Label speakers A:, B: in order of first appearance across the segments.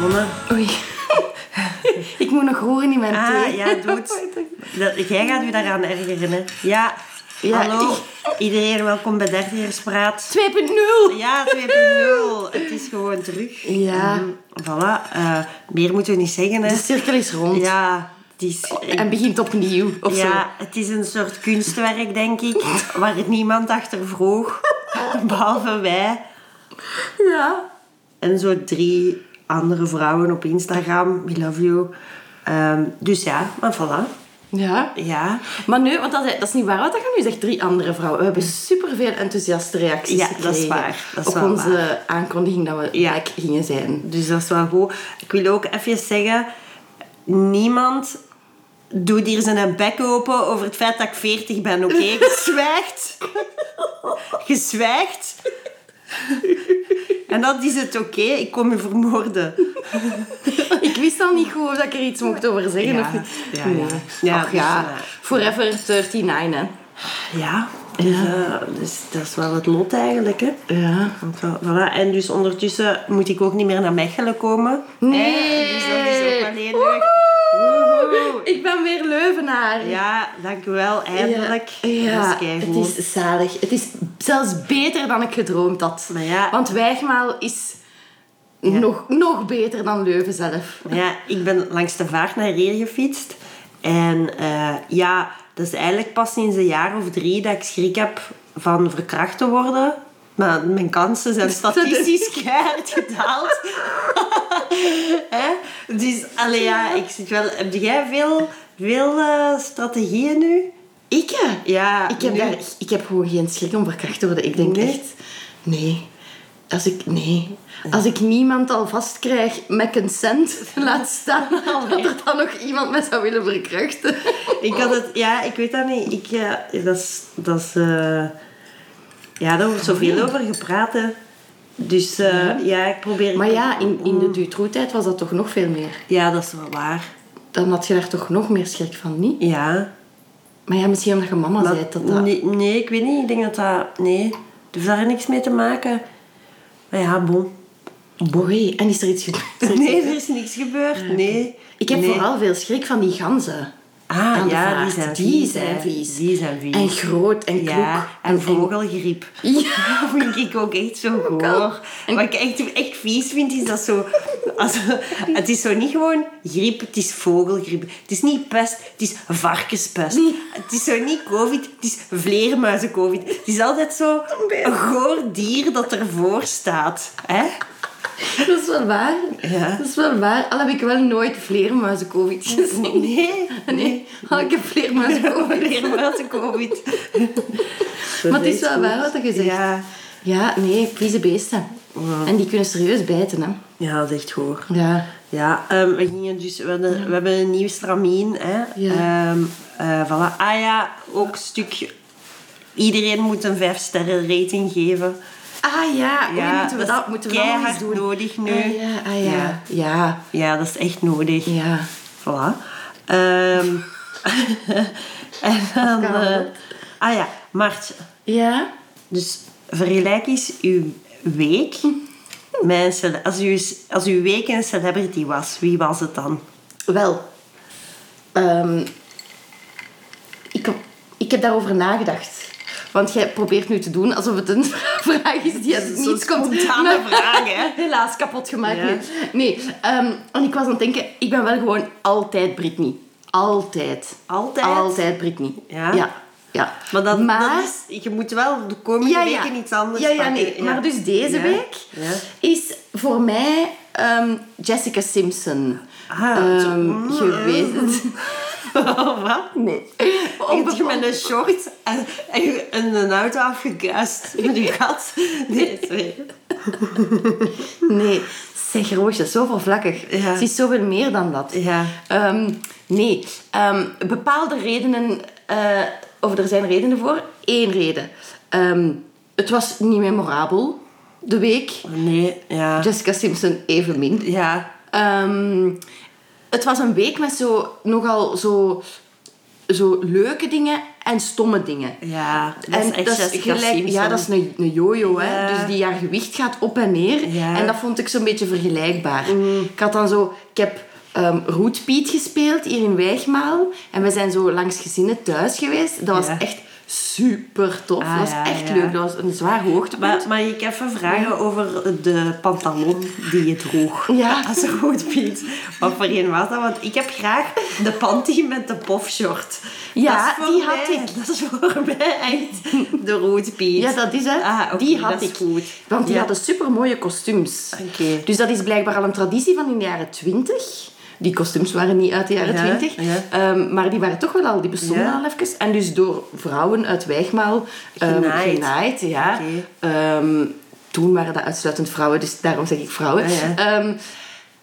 A: begonnen.
B: Oei. ik moet nog horen in mijn
A: Ah,
B: thee.
A: ja, doe
B: Oh,
A: het. Dat, jij gaat u daaraan ergeren, hè? Ja.
B: Ja,
A: Hallo,
B: ik-
A: iedereen, welkom bij Dertigerspraat.
B: 2.0!
A: Ja, 2.0. Het is gewoon terug.
B: Ja.
A: Mm, voilà. eh, meer moeten we niet zeggen, hè?
B: De cirkel is rond.
A: Ja, het is...
B: En begint opnieuw, of zo.
A: Ja, het is een soort kunstwerk, denk ik, waar niemand achter vroeg, behalve wij.
B: Ja.
A: En zo drie andere vrouwen op Instagram, we love you. Ehm, dus ja, maar voilà.
B: Ja.
A: Ja,
B: Maar nu, want dat is, dat is niet waar wat dat je nu zegt. Drie andere vrouwen. We hebben superveel enthousiaste reacties
A: Ja, dat is
B: gekregen.
A: waar. Dat is
B: op
A: wel
B: onze aankondiging dat we
A: Ja.
B: gelijk gingen zijn.
A: dus dat is wel goed. Ik wil ook even zeggen, niemand doet hier zijn bek open over het feit dat ik 40 ben, oké? Je zwijgt. Je zwijgt. En dat is het oké, ik kom je vermoorden.
B: Ik wist al niet goed of ik er iets mocht over zeggen.
A: Ja,
B: Of niet.
A: ja, ja.
B: Nee.
A: Ja,
B: Ach, ja.
A: dus, eh,
B: Forever 39, hè.
A: Ja, dus, eh, dus dat is wel het lot eigenlijk. Hè?
B: Ja.
A: Want wel- Voilà. En dus ondertussen moet ik ook niet meer naar Mechelen komen.
B: Nee.
A: Hè? Dus dat is ook alleen leuk.
B: Woehoe. Ik ben weer Leuvenaar.
A: Ja, dankjewel, eindelijk.
B: Ja,
A: Dat is
B: het
A: keigoed.
B: is zalig. Het is zelfs beter dan ik gedroomd had.
A: Maar ja.
B: Want Wijgmaal is nog, nog beter dan Leuven zelf.
A: Ja, ik ben langs de vaart naar hier gefietst. En eh, ja, dat is eigenlijk pas sinds een jaar of drie dat ik schrik heb van verkracht te worden. Maar mijn kansen zijn statistisch keihard gedaald. Hè? dus, allee, ja, ik zit wel... Heb jij veel, veel eh, strategieën nu?
B: Ik? hè?
A: Ja,
B: Ik heb,
A: nu-
B: daar, ik heb gewoon geen schrik om verkracht te worden. Ik denk
A: Nee?
B: echt... Nee. Als ik, nee. Als ik niemand al vastkrijg met consent, laat staan dat er dan nog iemand me zou willen verkrachten.
A: Ik had het, ja, ik weet dat niet. Ik, eh, dat is, dat is, eh, ja, daar wordt zoveel over gepraat. hè. Dus eh, Ah. ja, ik probeer.
B: Maar ja, in, in de Dutroux-tijd was dat toch nog veel meer.
A: Ja, dat is wel waar.
B: Dan had je daar toch nog meer schrik van, niet?
A: Ja.
B: Maar ja, misschien omdat je mama
A: Maar-
B: zei dat dat...
A: Nee, nee, ik weet niet. Ik denk dat dat. Nee, het heeft daar niks mee te maken. Maar ja, bon.
B: Boei, en is er iets gebeurd?
A: Nee, er is niks gebeurd. Nee.
B: Ik heb
A: Nee.
B: vooral veel schrik van die ganzen.
A: Ah,
B: aan de
A: ja, die
B: vaart.
A: zijn
B: die
A: vies,
B: zijn
A: hè.
B: vies.
A: Die zijn vies.
B: En groot en kloek.
A: Ja, en vogelgriep.
B: Ja.
A: Dat vind ik ook echt zo
B: al.
A: goor. Wat ik echt, echt vies vind, is dat zo... Als, het is zo niet gewoon griep, het is vogelgriep. Het is niet pest, het is varkenspest.
B: Nee.
A: Het is zo niet covid, het is vleermuizen-covid. Het is altijd zo een goor dier dat ervoor staat. Hè?
B: Dat is wel waar.
A: Ja.
B: Dat is wel waar. Al heb ik wel nooit vleermuizen-covid gezien.
A: Nee,
B: Nee, al ik heb vleermuizen-covid.
A: vleermuizen-covid.
B: Maar het is wel waar wat je zegt.
A: Ja.
B: Ja, nee, vieze beesten. En die kunnen serieus bijten, hè.
A: ja, dat is echt goor.
B: Ja.
A: Ja, ehm, we, gingen dus, we, hadden- we hebben een nieuw stramien. Hè.
B: Ja.
A: Ehm, eh, voilà. Ah ja, ook een stuk... Iedereen moet een 5 sterren rating geven.
B: Ah ja, oei,
A: Ja,
B: moeten we
A: dat is
B: dat, moeten we dat nog eens
A: keihard
B: doen?
A: nodig nu.
B: Ah ja, ah, ja.
A: Ja.
B: Ja,
A: Ja, dat is echt nodig.
B: ja.
A: Voilà. Ehm, en dan...
B: Kan
A: eh,
B: dat?
A: ah ja, Mart.
B: Ja?
A: Dus vergelijk eens uw week
B: Hm.
A: met een cele- als, uw, als uw week een celebrity was. Wie was het dan?
B: Wel, ehm, ik, ik heb daarover nagedacht. Want jij probeert nu te doen alsof het een vraag is die uit het
A: Zo'n
B: niets komt.
A: spontane vraag, hè?
B: Helaas, kapot gemaakt.
A: Ja.
B: Nee, nee ehm, en ik was aan het denken, ik ben wel gewoon altijd Britney. Altijd.
A: Altijd?
B: Altijd Britney.
A: Ja?
B: Ja. ja.
A: Maar, dat,
B: Maar-
A: dat is, je moet wel de komende weken iets anders
B: ja, ja,
A: pakken.
B: nee. Maar dus deze
A: Ja.
B: week
A: Ja.
B: is voor mij ehm, Jessica Simpson
A: Ah,
B: ehm, geweest.
A: Wat?
B: Nee.
A: Eet je met een short en, en, je- en een auto afgekuist met je gat? Nee, sorry.
B: Nee, zeg Roosje, zo oppervlakkig.
A: Ja.
B: Ze is zoveel meer dan dat.
A: Ja.
B: Ehm, nee, Ehm, bepaalde redenen, eh, of er zijn redenen voor. Eén reden. Ehm, het was niet memorabel, de week.
A: Nee, ja.
B: Jessica Simpson evenmin.
A: Ja.
B: Ehm, het was een week met zo, nogal zo, zo leuke dingen en stomme dingen.
A: Ja, dat is
B: en
A: echt
B: dat is
A: Jessica
B: gelijk, ja,
A: Simpson.
B: dat is een, een jojo,
A: Ja.
B: hè. Dus die haar gewicht gaat op en neer.
A: Ja. Mm.
B: En dat vond ik zo'n beetje vergelijkbaar. Ik had dan zo... Ik heb ehm Roet Piet gespeeld hier in Wijgmaal. En we zijn zo langs gezinnen thuis geweest. Dat was
A: Ja.
B: echt super tof.
A: Ah,
B: dat was
A: ja,
B: echt
A: ja.
B: leuk. Dat was een zwaar hoogtepunt.
A: Maar, mag ik even vragen over de pantalon die je droeg?
B: Ja.
A: Dat is goed, Piet. Wat voor een was dat? Want ik heb graag de panty met de pofshort.
B: Ja,
A: Dat is voor
B: die
A: mij-
B: had ik.
A: Dat is voor mij echt de rood Piet.
B: Ja, dat is hè.
A: Ah, oké,
B: die had
A: dat is
B: ik.
A: goed.
B: Want die
A: Ja.
B: hadden supermooie kostuums.
A: Oké.
B: Dus dat is blijkbaar al een traditie van in de jaren 20. Die kostuums waren niet uit de jaren
A: Ja,
B: 20.
A: ja.
B: Ehm, maar die waren toch wel al, die bestonden
A: Ja.
B: al even. En dus door vrouwen uit Wijgmaal ehm,
A: Genaaid.
B: genaaid, ja.
A: Oké.
B: Ehm, toen waren dat uitsluitend vrouwen, dus daarom zeg ik vrouwen.
A: Ja, ja.
B: Ehm,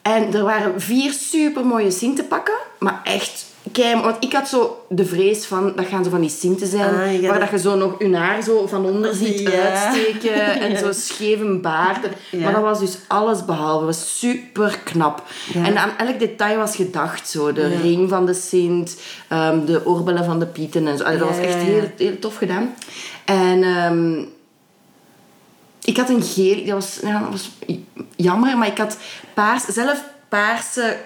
B: en er waren vier supermooie sintepakken, maar echt keim. Want ik had zo de vrees van, dat gaan zo van die sinten zijn,
A: Ah, ja,
B: waar
A: dat-
B: dat je zo nog hun haar zo van onder ziet
A: Ja.
B: uitsteken en
A: Ja.
B: zo scheven baard.
A: Ja.
B: Maar dat was dus alles behalve. Dat was super knap.
A: Ja.
B: En aan elk detail was gedacht. Zo. De ring van de Sint, ehm, de oorbellen van de Pieten en zo. Allee, dat
A: Ja,
B: was echt
A: ja, ja.
B: heel, heel tof gedaan. En ehm, ik had een geel, dat was, ja, dat was jammer, maar ik had paars, zelf paarse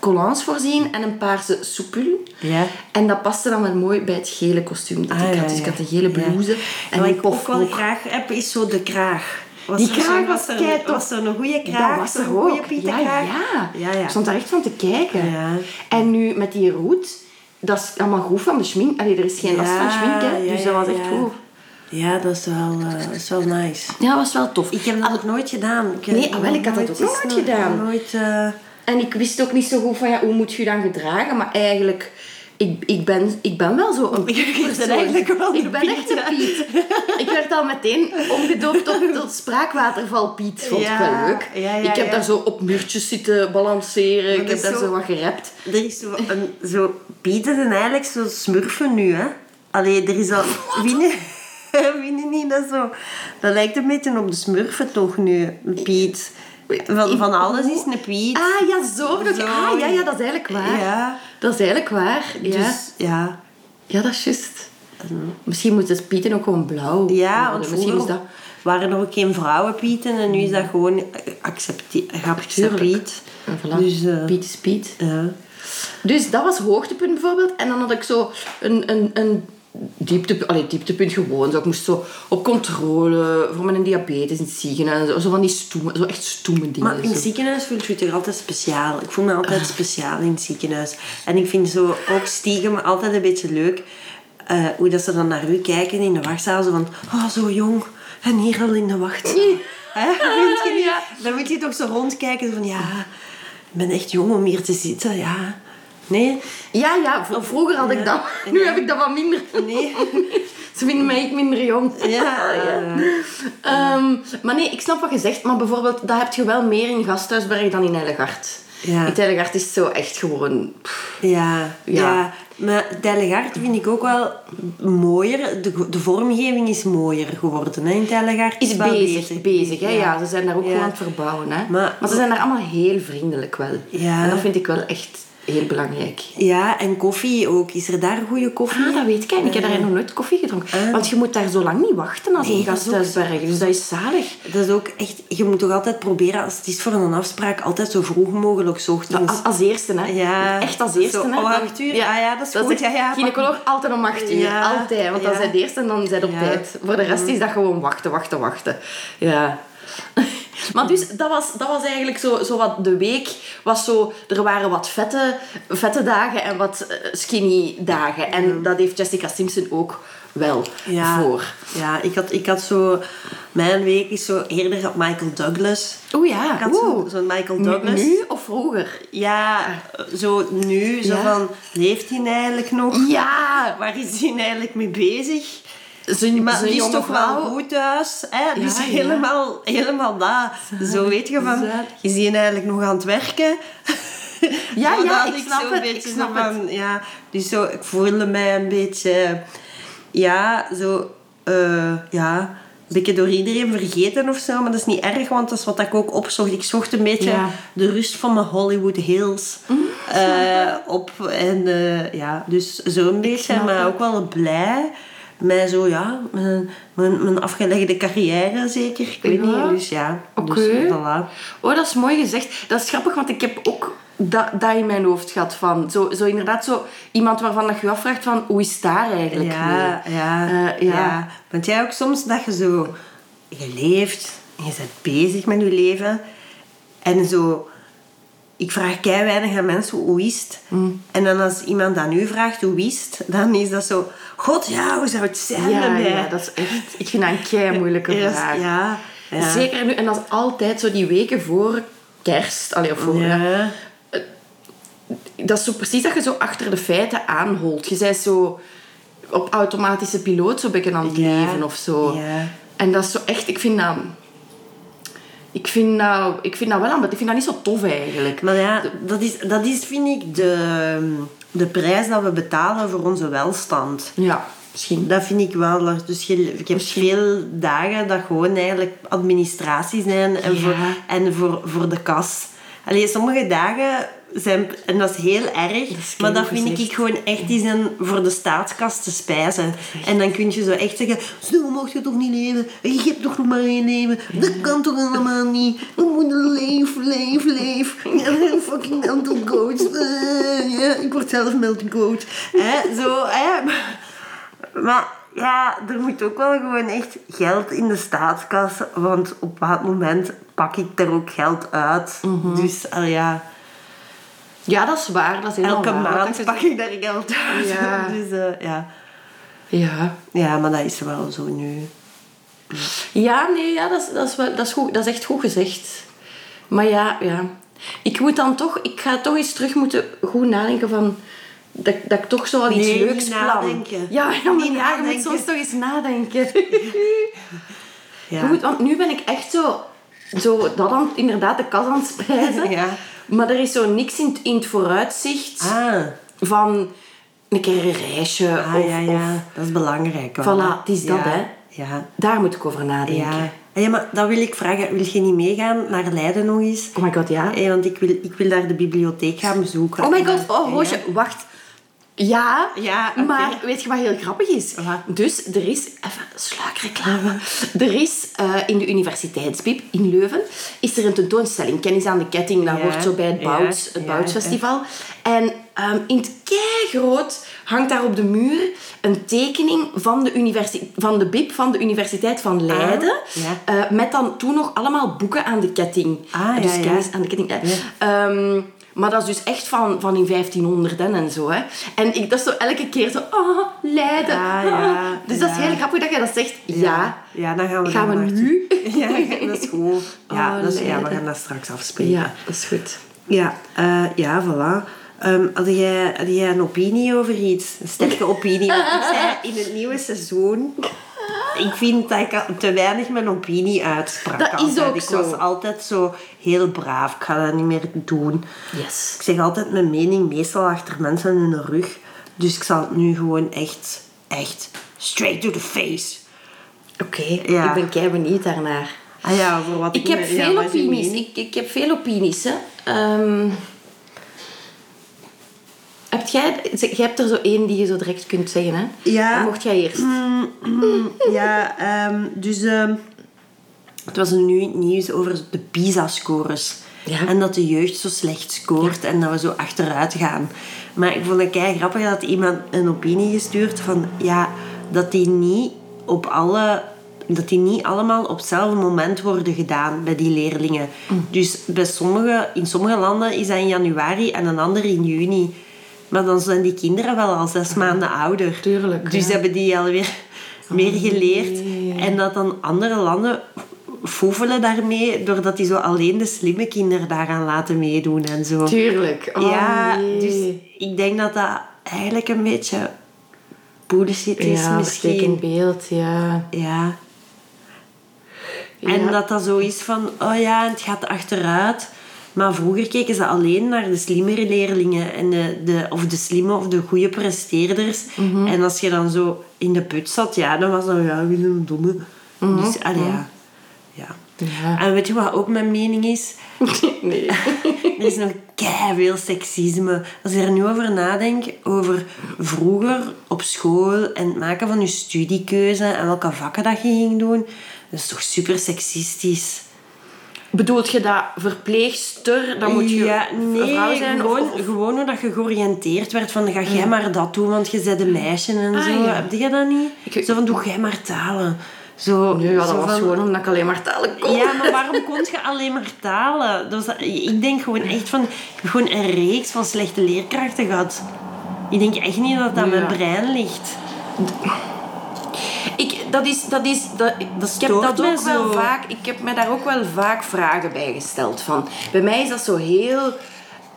B: collants voorzien en een paarse soepul.
A: Ja.
B: En dat paste dan wel mooi bij het gele kostuum dat
A: Ah,
B: ik
A: ja,
B: had. Dus ik
A: ja.
B: had een gele
A: Ja.
B: blouse en
A: wat
B: een
A: ik ook wel
B: pofrok.
A: graag heb, is zo de kraag. Was
B: Die
A: er zo'n-
B: kraag was
A: er-
B: keitof.
A: Was er een goede kraag?
B: dat was
A: zo'n
B: er ook.
A: goede
B: ja,
A: pietenkraag?
B: ja.
A: ja, ja.
B: Ik stond daar echt van te kijken.
A: Ja.
B: En nu met die roet, dat is allemaal goed van de schmink. Allee, er is geen last van schmink, hè.
A: ja,
B: dus
A: ja,
B: dat was echt
A: ja.
B: goed.
A: Ja, dat is wel, eh, dat is wel nice.
B: Ja, dat was wel tof.
A: Ik heb dat nog nooit gedaan. Ik heb
B: Nee, ah, wel, ik had dat ook nooit gedaan.
A: Nooit, eh,
B: En ik wist ook niet zo goed van, ja, hoe moet je je dan gedragen? Maar eigenlijk, ik, ik, ben, ik ben wel zo een
A: Je bent
B: pietpersoon.
A: eigenlijk wel de
B: Ik ben
A: Piet,
B: echt een Piet. ik werd al meteen omgedoopt tot, tot spraakwaterval Piet. Vond ik
A: Ja,
B: wel leuk.
A: ja, ja,
B: ik heb
A: ja.
B: daar zo op muurtjes zitten balanceren. Ik
A: dat
B: heb
A: is
B: daar
A: zo-
B: zo wat gerept.
A: er is zo, een, zo Pieten zijn eigenlijk zo smurfen nu, hè. Allee, er is al... Winnen... Winnen niet, dat zo... Dat lijkt een beetje op de smurfen toch nu, een Piet. Van, van alles is een Piet.
B: Ah ja, zo. bedoel ik.
A: Zo.
B: Ah ja, ja, dat is eigenlijk waar.
A: Ja.
B: Dat is eigenlijk waar. Ja,
A: Dus ja...
B: ja dat is juist. Misschien moet het pieten ook gewoon blauw.
A: Ja,
B: worden.
A: want
B: misschien
A: vroeger
B: is dat.
A: waren er ook geen vrouwenpieten en nu is dat gewoon accepti- geaccepteerd.
B: En Ah, voilà.
A: Dus eh,
B: Piet is Piet.
A: ja.
B: Dus dat was hoogtepunt bijvoorbeeld. En dan had ik zo een, een, een diepte, allee, dieptepunt gewoon. Zo, ik moest zo op controle voor mijn diabetes in het ziekenhuis. Zo, zo van die stoeme, zo echt stoeme dingen.
A: Maar in
B: zo.
A: het ziekenhuis voel je je toch altijd speciaal. Ik voel me
B: Ah.
A: altijd speciaal in het ziekenhuis. En ik vind zo ook stiekem altijd een beetje leuk eh, hoe dat ze dan naar u kijken in de wachtzaal. Zo van, oh zo jong en hier al in de wacht. Hè? Vind je niet?
B: Ja.
A: Dan moet je toch zo rondkijken zo van, ja, ik ben echt jong om hier te zitten, ja. Nee?
B: Ja, ja, v- vroeger had ik dat. Nu heb ik dat wat minder.
A: Nee.
B: Ze vinden mij echt minder jong.
A: Ja.
B: Oh, Ehm, maar nee, ik snap wat je zegt. Maar bijvoorbeeld, dat heb je wel meer in Gasthuisberg dan in Heiligart.
A: Ja.
B: In Heiligart is zo echt gewoon... pff.
A: Ja, ja.
B: Ja.
A: Maar Tellegaard vind ik ook wel mooier. De, de vormgeving is mooier geworden. Hè? In Tellegaard
B: Is
A: wel
B: bezig, bezig, hè? Ja. ze zijn daar ook
A: Ja.
B: gewoon aan het verbouwen, hè?
A: Maar-
B: Maar, ze zijn daar allemaal heel vriendelijk wel.
A: Ja.
B: En dat vind ik wel echt heel belangrijk.
A: Ja, en koffie ook. Is er daar goede koffie?
B: Ah, dat weet ik. hè. Ik heb daar nog nooit koffie gedronken. Want je moet daar zo lang niet wachten als in
A: Ah. dat is ook
B: Gasthuisberg. Dus dat is zalig.
A: Dat is ook echt... Je moet toch altijd proberen, als het is voor een afspraak, altijd zo vroeg mogelijk 's ochtends.
B: Als, als eerste, hè?
A: Ja.
B: Echt als eerste,
A: Zo,
B: hè?
A: om
B: Dan-
A: acht uur? Ah ja, dat is goed.
B: echt-
A: Ja, ja, pak-
B: gynaecoloog altijd om acht uur.
A: Ja,
B: Altijd. Want dan
A: ja.
B: zijn het eerst en dan zijn ze op
A: Ja. Mm.
B: tijd. Voor de rest is dat gewoon wachten, wachten, wachten. Ja. Maar dus, dat was, dat was eigenlijk zo, zo wat de week. Was zo, er waren wat vette, vette dagen en wat eh, skinny dagen. En dat heeft Jessica Simpson ook wel ah, voor.
A: Ja, ik had, ik had zo... Mijn week is zo eerder op Michael Douglas.
B: Oeh ja,
A: Ik had zo-
B: oeh.
A: zo'n Michael
B: Nu-
A: Douglas.
B: Nu of vroeger?
A: Ja, zo nu. Zo
B: Ja.
A: van, leeft hij eigenlijk nog?
B: Ja!
A: Waar is hij eigenlijk mee bezig?
B: Zijn,
A: Maar
B: zijn
A: die is
B: jonge
A: toch wel
B: vrouw-
A: goed thuis. Hè? dus
B: ja.
A: helemaal, helemaal dat. Zo weet je van,
B: zalig.
A: is die eigenlijk nog aan het werken?
B: Ja,
A: Zo
B: ja,
A: dat
B: ik
A: zo
B: snap
A: een
B: het,
A: beetje
B: ik snap
A: zo ja, dus zo, ik voelde mij een beetje... Ja, zo... eh, ja, een beetje door iedereen vergeten of zo. Maar dat is niet erg, want dat is wat ik ook opzocht. Ik zocht een beetje
B: Ja. Mhm.
A: de rust van mijn Hollywood Hills. eh, op. En eh, ja, dus zo'n beetje,
B: snap
A: maar
B: het.
A: ook wel blij. Met zo, ja, mijn, mijn, mijn afgelegde carrière zeker. Ik weet
B: Ja.
A: niet, dus ja. Dus,
B: Oké.
A: voilà.
B: Oh, dat is mooi gezegd. Dat is grappig, want ik heb ook dat, dat in mijn hoofd gehad. Van, zo, zo inderdaad, zo iemand waarvan dat je je afvraagt van, hoe is daar eigenlijk mee?
A: Ja, ja,
B: Eh, ja.
A: ja. Want jij ook soms dat je zo... Je leeft, en je bent bezig met je leven. En zo... Ik vraag kei weinig aan mensen hoe is het.
B: Mm.
A: En dan als iemand aan u vraagt hoe is het, dan is dat zo... God, ja, hoe zou het zijn
B: Ja,
A: met mij?
B: ja, dat is echt... Ik vind dat een kei moeilijke
A: Eerst-
B: vraag.
A: Ja, ja.
B: Zeker nu, en dat is altijd zo die weken voor kerst. Allee, of voor...
A: Ja.
B: Dat is zo precies dat je zo achter de feiten aanholt. Je bent zo op automatische piloot zo ben aan het
A: Ja,
B: leven of zo.
A: ja.
B: En dat is zo echt... Ik vind dat... Ik vind dat, ik vind dat wel aan, ik vind dat niet zo tof eigenlijk.
A: Maar ja, dat is, dat is vind ik de, de prijs dat we betalen voor onze welstand.
B: Ja, misschien.
A: Dat vind ik wel. Dus je, ik heb veel dagen dat gewoon eigenlijk administratie zijn en,
B: Ja.
A: voor, en voor, voor de kas. Alleen sommige dagen zijn, en dat is heel erg,
B: is
A: maar dat
B: keihard
A: vind ik
B: gezegd.
A: gewoon echt die zijn voor de staatskas te spijzen. En dan kun je zo echt zeggen: Zo mocht je toch niet leven? Je hebt toch nog maar één leven? Dat kan toch allemaal niet? We moeten leven, leven, leven. Ja, we zijn fucking mental coach. Eh, ja, ik word zelf mental coach. Hè, zo, hè. Maar ja, er moet ook wel gewoon echt geld in de staatskas. Want op wat moment pak ik er ook geld uit. Dus al ja,
B: Ja, dat is waar. Dat is helemaal
A: elke
B: waar.
A: maand
B: Dat is-
A: pak ik daar geld uit.
B: Ja.
A: Dus eh, ja.
B: Ja.
A: ja, maar dat is wel zo nu.
B: Ja, nee, ja, dat, is, dat, is wel, dat, is goed, dat is echt goed gezegd. Maar ja, ja. Ik moet dan toch... Ik ga toch eens terug moeten goed nadenken van... Dat, dat ik toch zo wel iets
A: Nee, niet
B: leuks plan.
A: nadenken.
B: Ja, ja, maar
A: Niet
B: ja, je
A: nadenken.
B: moet soms toch eens nadenken.
A: Ja.
B: Je moet, want nu ben ik echt zo... Zo, dat dan inderdaad de kas aan het spijzen.
A: Ja.
B: Maar er is zo niks in, het- in het vooruitzicht
A: Ah,
B: van een keer een reisje.
A: ah
B: of,
A: ja,
B: of-
A: ja. Dat is belangrijk. wel,
B: Voilà,
A: hè.
B: het is dat,
A: Ja,
B: hè.
A: Ja.
B: daar moet ik over nadenken.
A: Ja. Ah, ja, maar dat wil ik vragen. Wil je niet meegaan naar Leiden nog eens?
B: Oh my god, ja.
A: Eh, want ik wil, ik wil daar de bibliotheek gaan bezoeken.
B: Oh my god, oh
A: Ja.
B: Roosje, wacht. Ja,
A: Ja, oké.
B: maar weet je wat heel grappig is?
A: Wat?
B: Dus er is, even sluikreclame, er is eh, in de universiteitsbib in Leuven, is er een tentoonstelling, Kennis aan de Ketting, dat
A: Ja,
B: hoort zo bij het
A: ja,
B: Bouts, het
A: ja,
B: Boutsfestival. En ehm, in het keigroot hangt daar op de muur een tekening van de, universi- van de bib van de Universiteit van Leiden,
A: Ah, ja.
B: eh, met dan toen nog allemaal boeken aan de ketting.
A: Ah,
B: dus
A: ja, ja.
B: Kennis aan de ketting. eh. Ehm, maar dat is dus echt van, van in 1500 en, en zo. Hè. En ik, dat is zo elke keer zo, oh, Leiden.
A: Ah, ja,
B: ah. dus dat is
A: ja.
B: heel grappig dat jij dat zegt. Ja,
A: Ja, dan gaan we
B: gaan we
A: daar naartoe.
B: nu?
A: Ja, dat is goed. Ja,
B: Oh,
A: dat is, ja we
B: Leiden.
A: gaan dat straks afspreken.
B: Ja, dat is goed.
A: Ja, eh, ja voilà. Ehm, had, jij, had jij een opinie over iets? Een sterke opinie? Want ik zei in het nieuwe seizoen... Ik vind dat ik al te weinig mijn opinie uitsprak.
B: Dat is
A: altijd.
B: ook
A: ik
B: zo.
A: was altijd zo heel braaf. Ik ga dat niet meer doen.
B: Yes.
A: Ik zeg altijd mijn mening meestal achter mensen in hun rug. Dus ik zal het nu gewoon echt, echt straight to the face.
B: Oké,
A: Ja.
B: ik ben kei benieuwd daarnaar.
A: Ah ja, voor wat
B: Ik heb
A: me- ja,
B: veel
A: wat is uw
B: opinies.
A: mening?
B: Ik, ik heb veel opinies, hè. Ehm heb jij, zeg, jij hebt er zo één die je zo direct kunt zeggen, hè?
A: Ja.
B: Dan mocht jij eerst.
A: Ja, ehm, dus ehm, het was nu het nieuws over de PISA-scores.
B: Ja.
A: En dat de jeugd zo slecht scoort en dat we zo achteruit gaan. Maar ik vond het kei grappig dat iemand een opinie gestuurd van ja, dat die niet op alle dat die niet allemaal op hetzelfde moment worden gedaan bij die leerlingen.
B: Mm.
A: Dus bij sommige, in sommige landen is dat in januari en een ander in juni. Maar dan zijn die kinderen wel al zes maanden ouder.
B: Mm-hmm. Tuurlijk,
A: Dus
B: ja.
A: hebben die alweer
B: Oh,
A: meer geleerd. En dat dan andere landen foefelen daarmee, doordat die zo alleen de slimme kinderen daaraan laten meedoen en zo.
B: Tuurlijk. Oh,
A: ja,
B: nee.
A: dus ik denk dat dat eigenlijk een beetje bullshit is
B: ja,
A: misschien.
B: misschien. beeld, ja.
A: Ja. En
B: Ja.
A: dat dat zo is van, oh ja, het gaat achteruit. Maar vroeger keken ze alleen naar de slimmere leerlingen. En de, de, of de slimme of de goede presteerders.
B: Mhm.
A: En als je dan zo in de put zat, ja, dan was dat, ja, we zijn een domme. Dus, allee, ja. ja.
B: Mhm. Ja.
A: En weet je wat ook mijn mening is?
B: nee.
A: er is nog veel seksisme. Als ik er nu over nadenk, over vroeger op school en het maken van je studiekeuze en welke vakken dat je ging doen, dat is toch super seksistisch.
B: Bedoelt je dat verpleegster, dan moet je
A: ja, nee,
B: vrouw zijn? of-
A: gewoon,
B: of- of-
A: gewoon hoe dat je georiënteerd werd van ga jij maar dat doen, want je bent een meisje en
B: Ah,
A: zo.
B: ja.
A: Heb je dat niet?
B: Ik-
A: Zo van doe jij maar talen. Zo,
B: Nee, ja,
A: zo
B: dat was
A: van-
B: gewoon omdat ik alleen maar talen kon.
A: Ja, maar waarom kon je alleen maar talen? Dus dat- ik denk gewoon echt van... Ik heb gewoon een reeks van slechte leerkrachten gehad. Ik denk echt niet dat dat aan mijn
B: Ja.
A: brein ligt.
B: Ik, dat is, dat is, dat, ik heb
A: stoort
B: dat
A: mij
B: ook wel
A: zo.
B: vaak, ik heb me daar ook wel vaak vragen bij gesteld. Van, bij mij is dat zo heel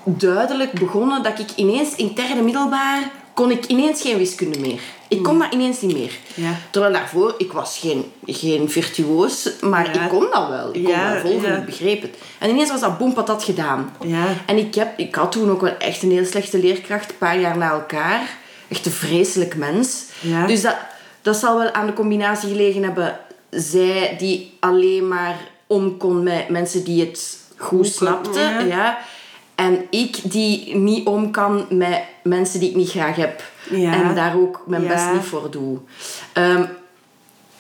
B: duidelijk begonnen dat ik ineens in derde middelbaar kon ik ineens geen wiskunde meer. Ik kon dat ineens niet meer.
A: Hmm. Ja.
B: Terwijl daarvoor, ik was geen, geen virtuoos, maar
A: Ja.
B: ik kon dat wel. Ik kon
A: Ja,
B: dat volgen,
A: ja.
B: ik begreep het. En ineens was dat boem patat gedaan.
A: Ja.
B: En ik, heb, ik had toen ook wel echt een heel slechte leerkracht, een paar jaar na elkaar. Echt een vreselijk mens.
A: Ja.
B: Dus dat, dat zal wel aan de combinatie gelegen hebben. Zij die alleen maar om kon met mensen die het goed snapten.
A: ja.
B: Ja. En ik die niet om kan met mensen die ik niet graag heb.
A: Ja.
B: En daar ook mijn
A: Ja.
B: best niet voor doe. Ehm,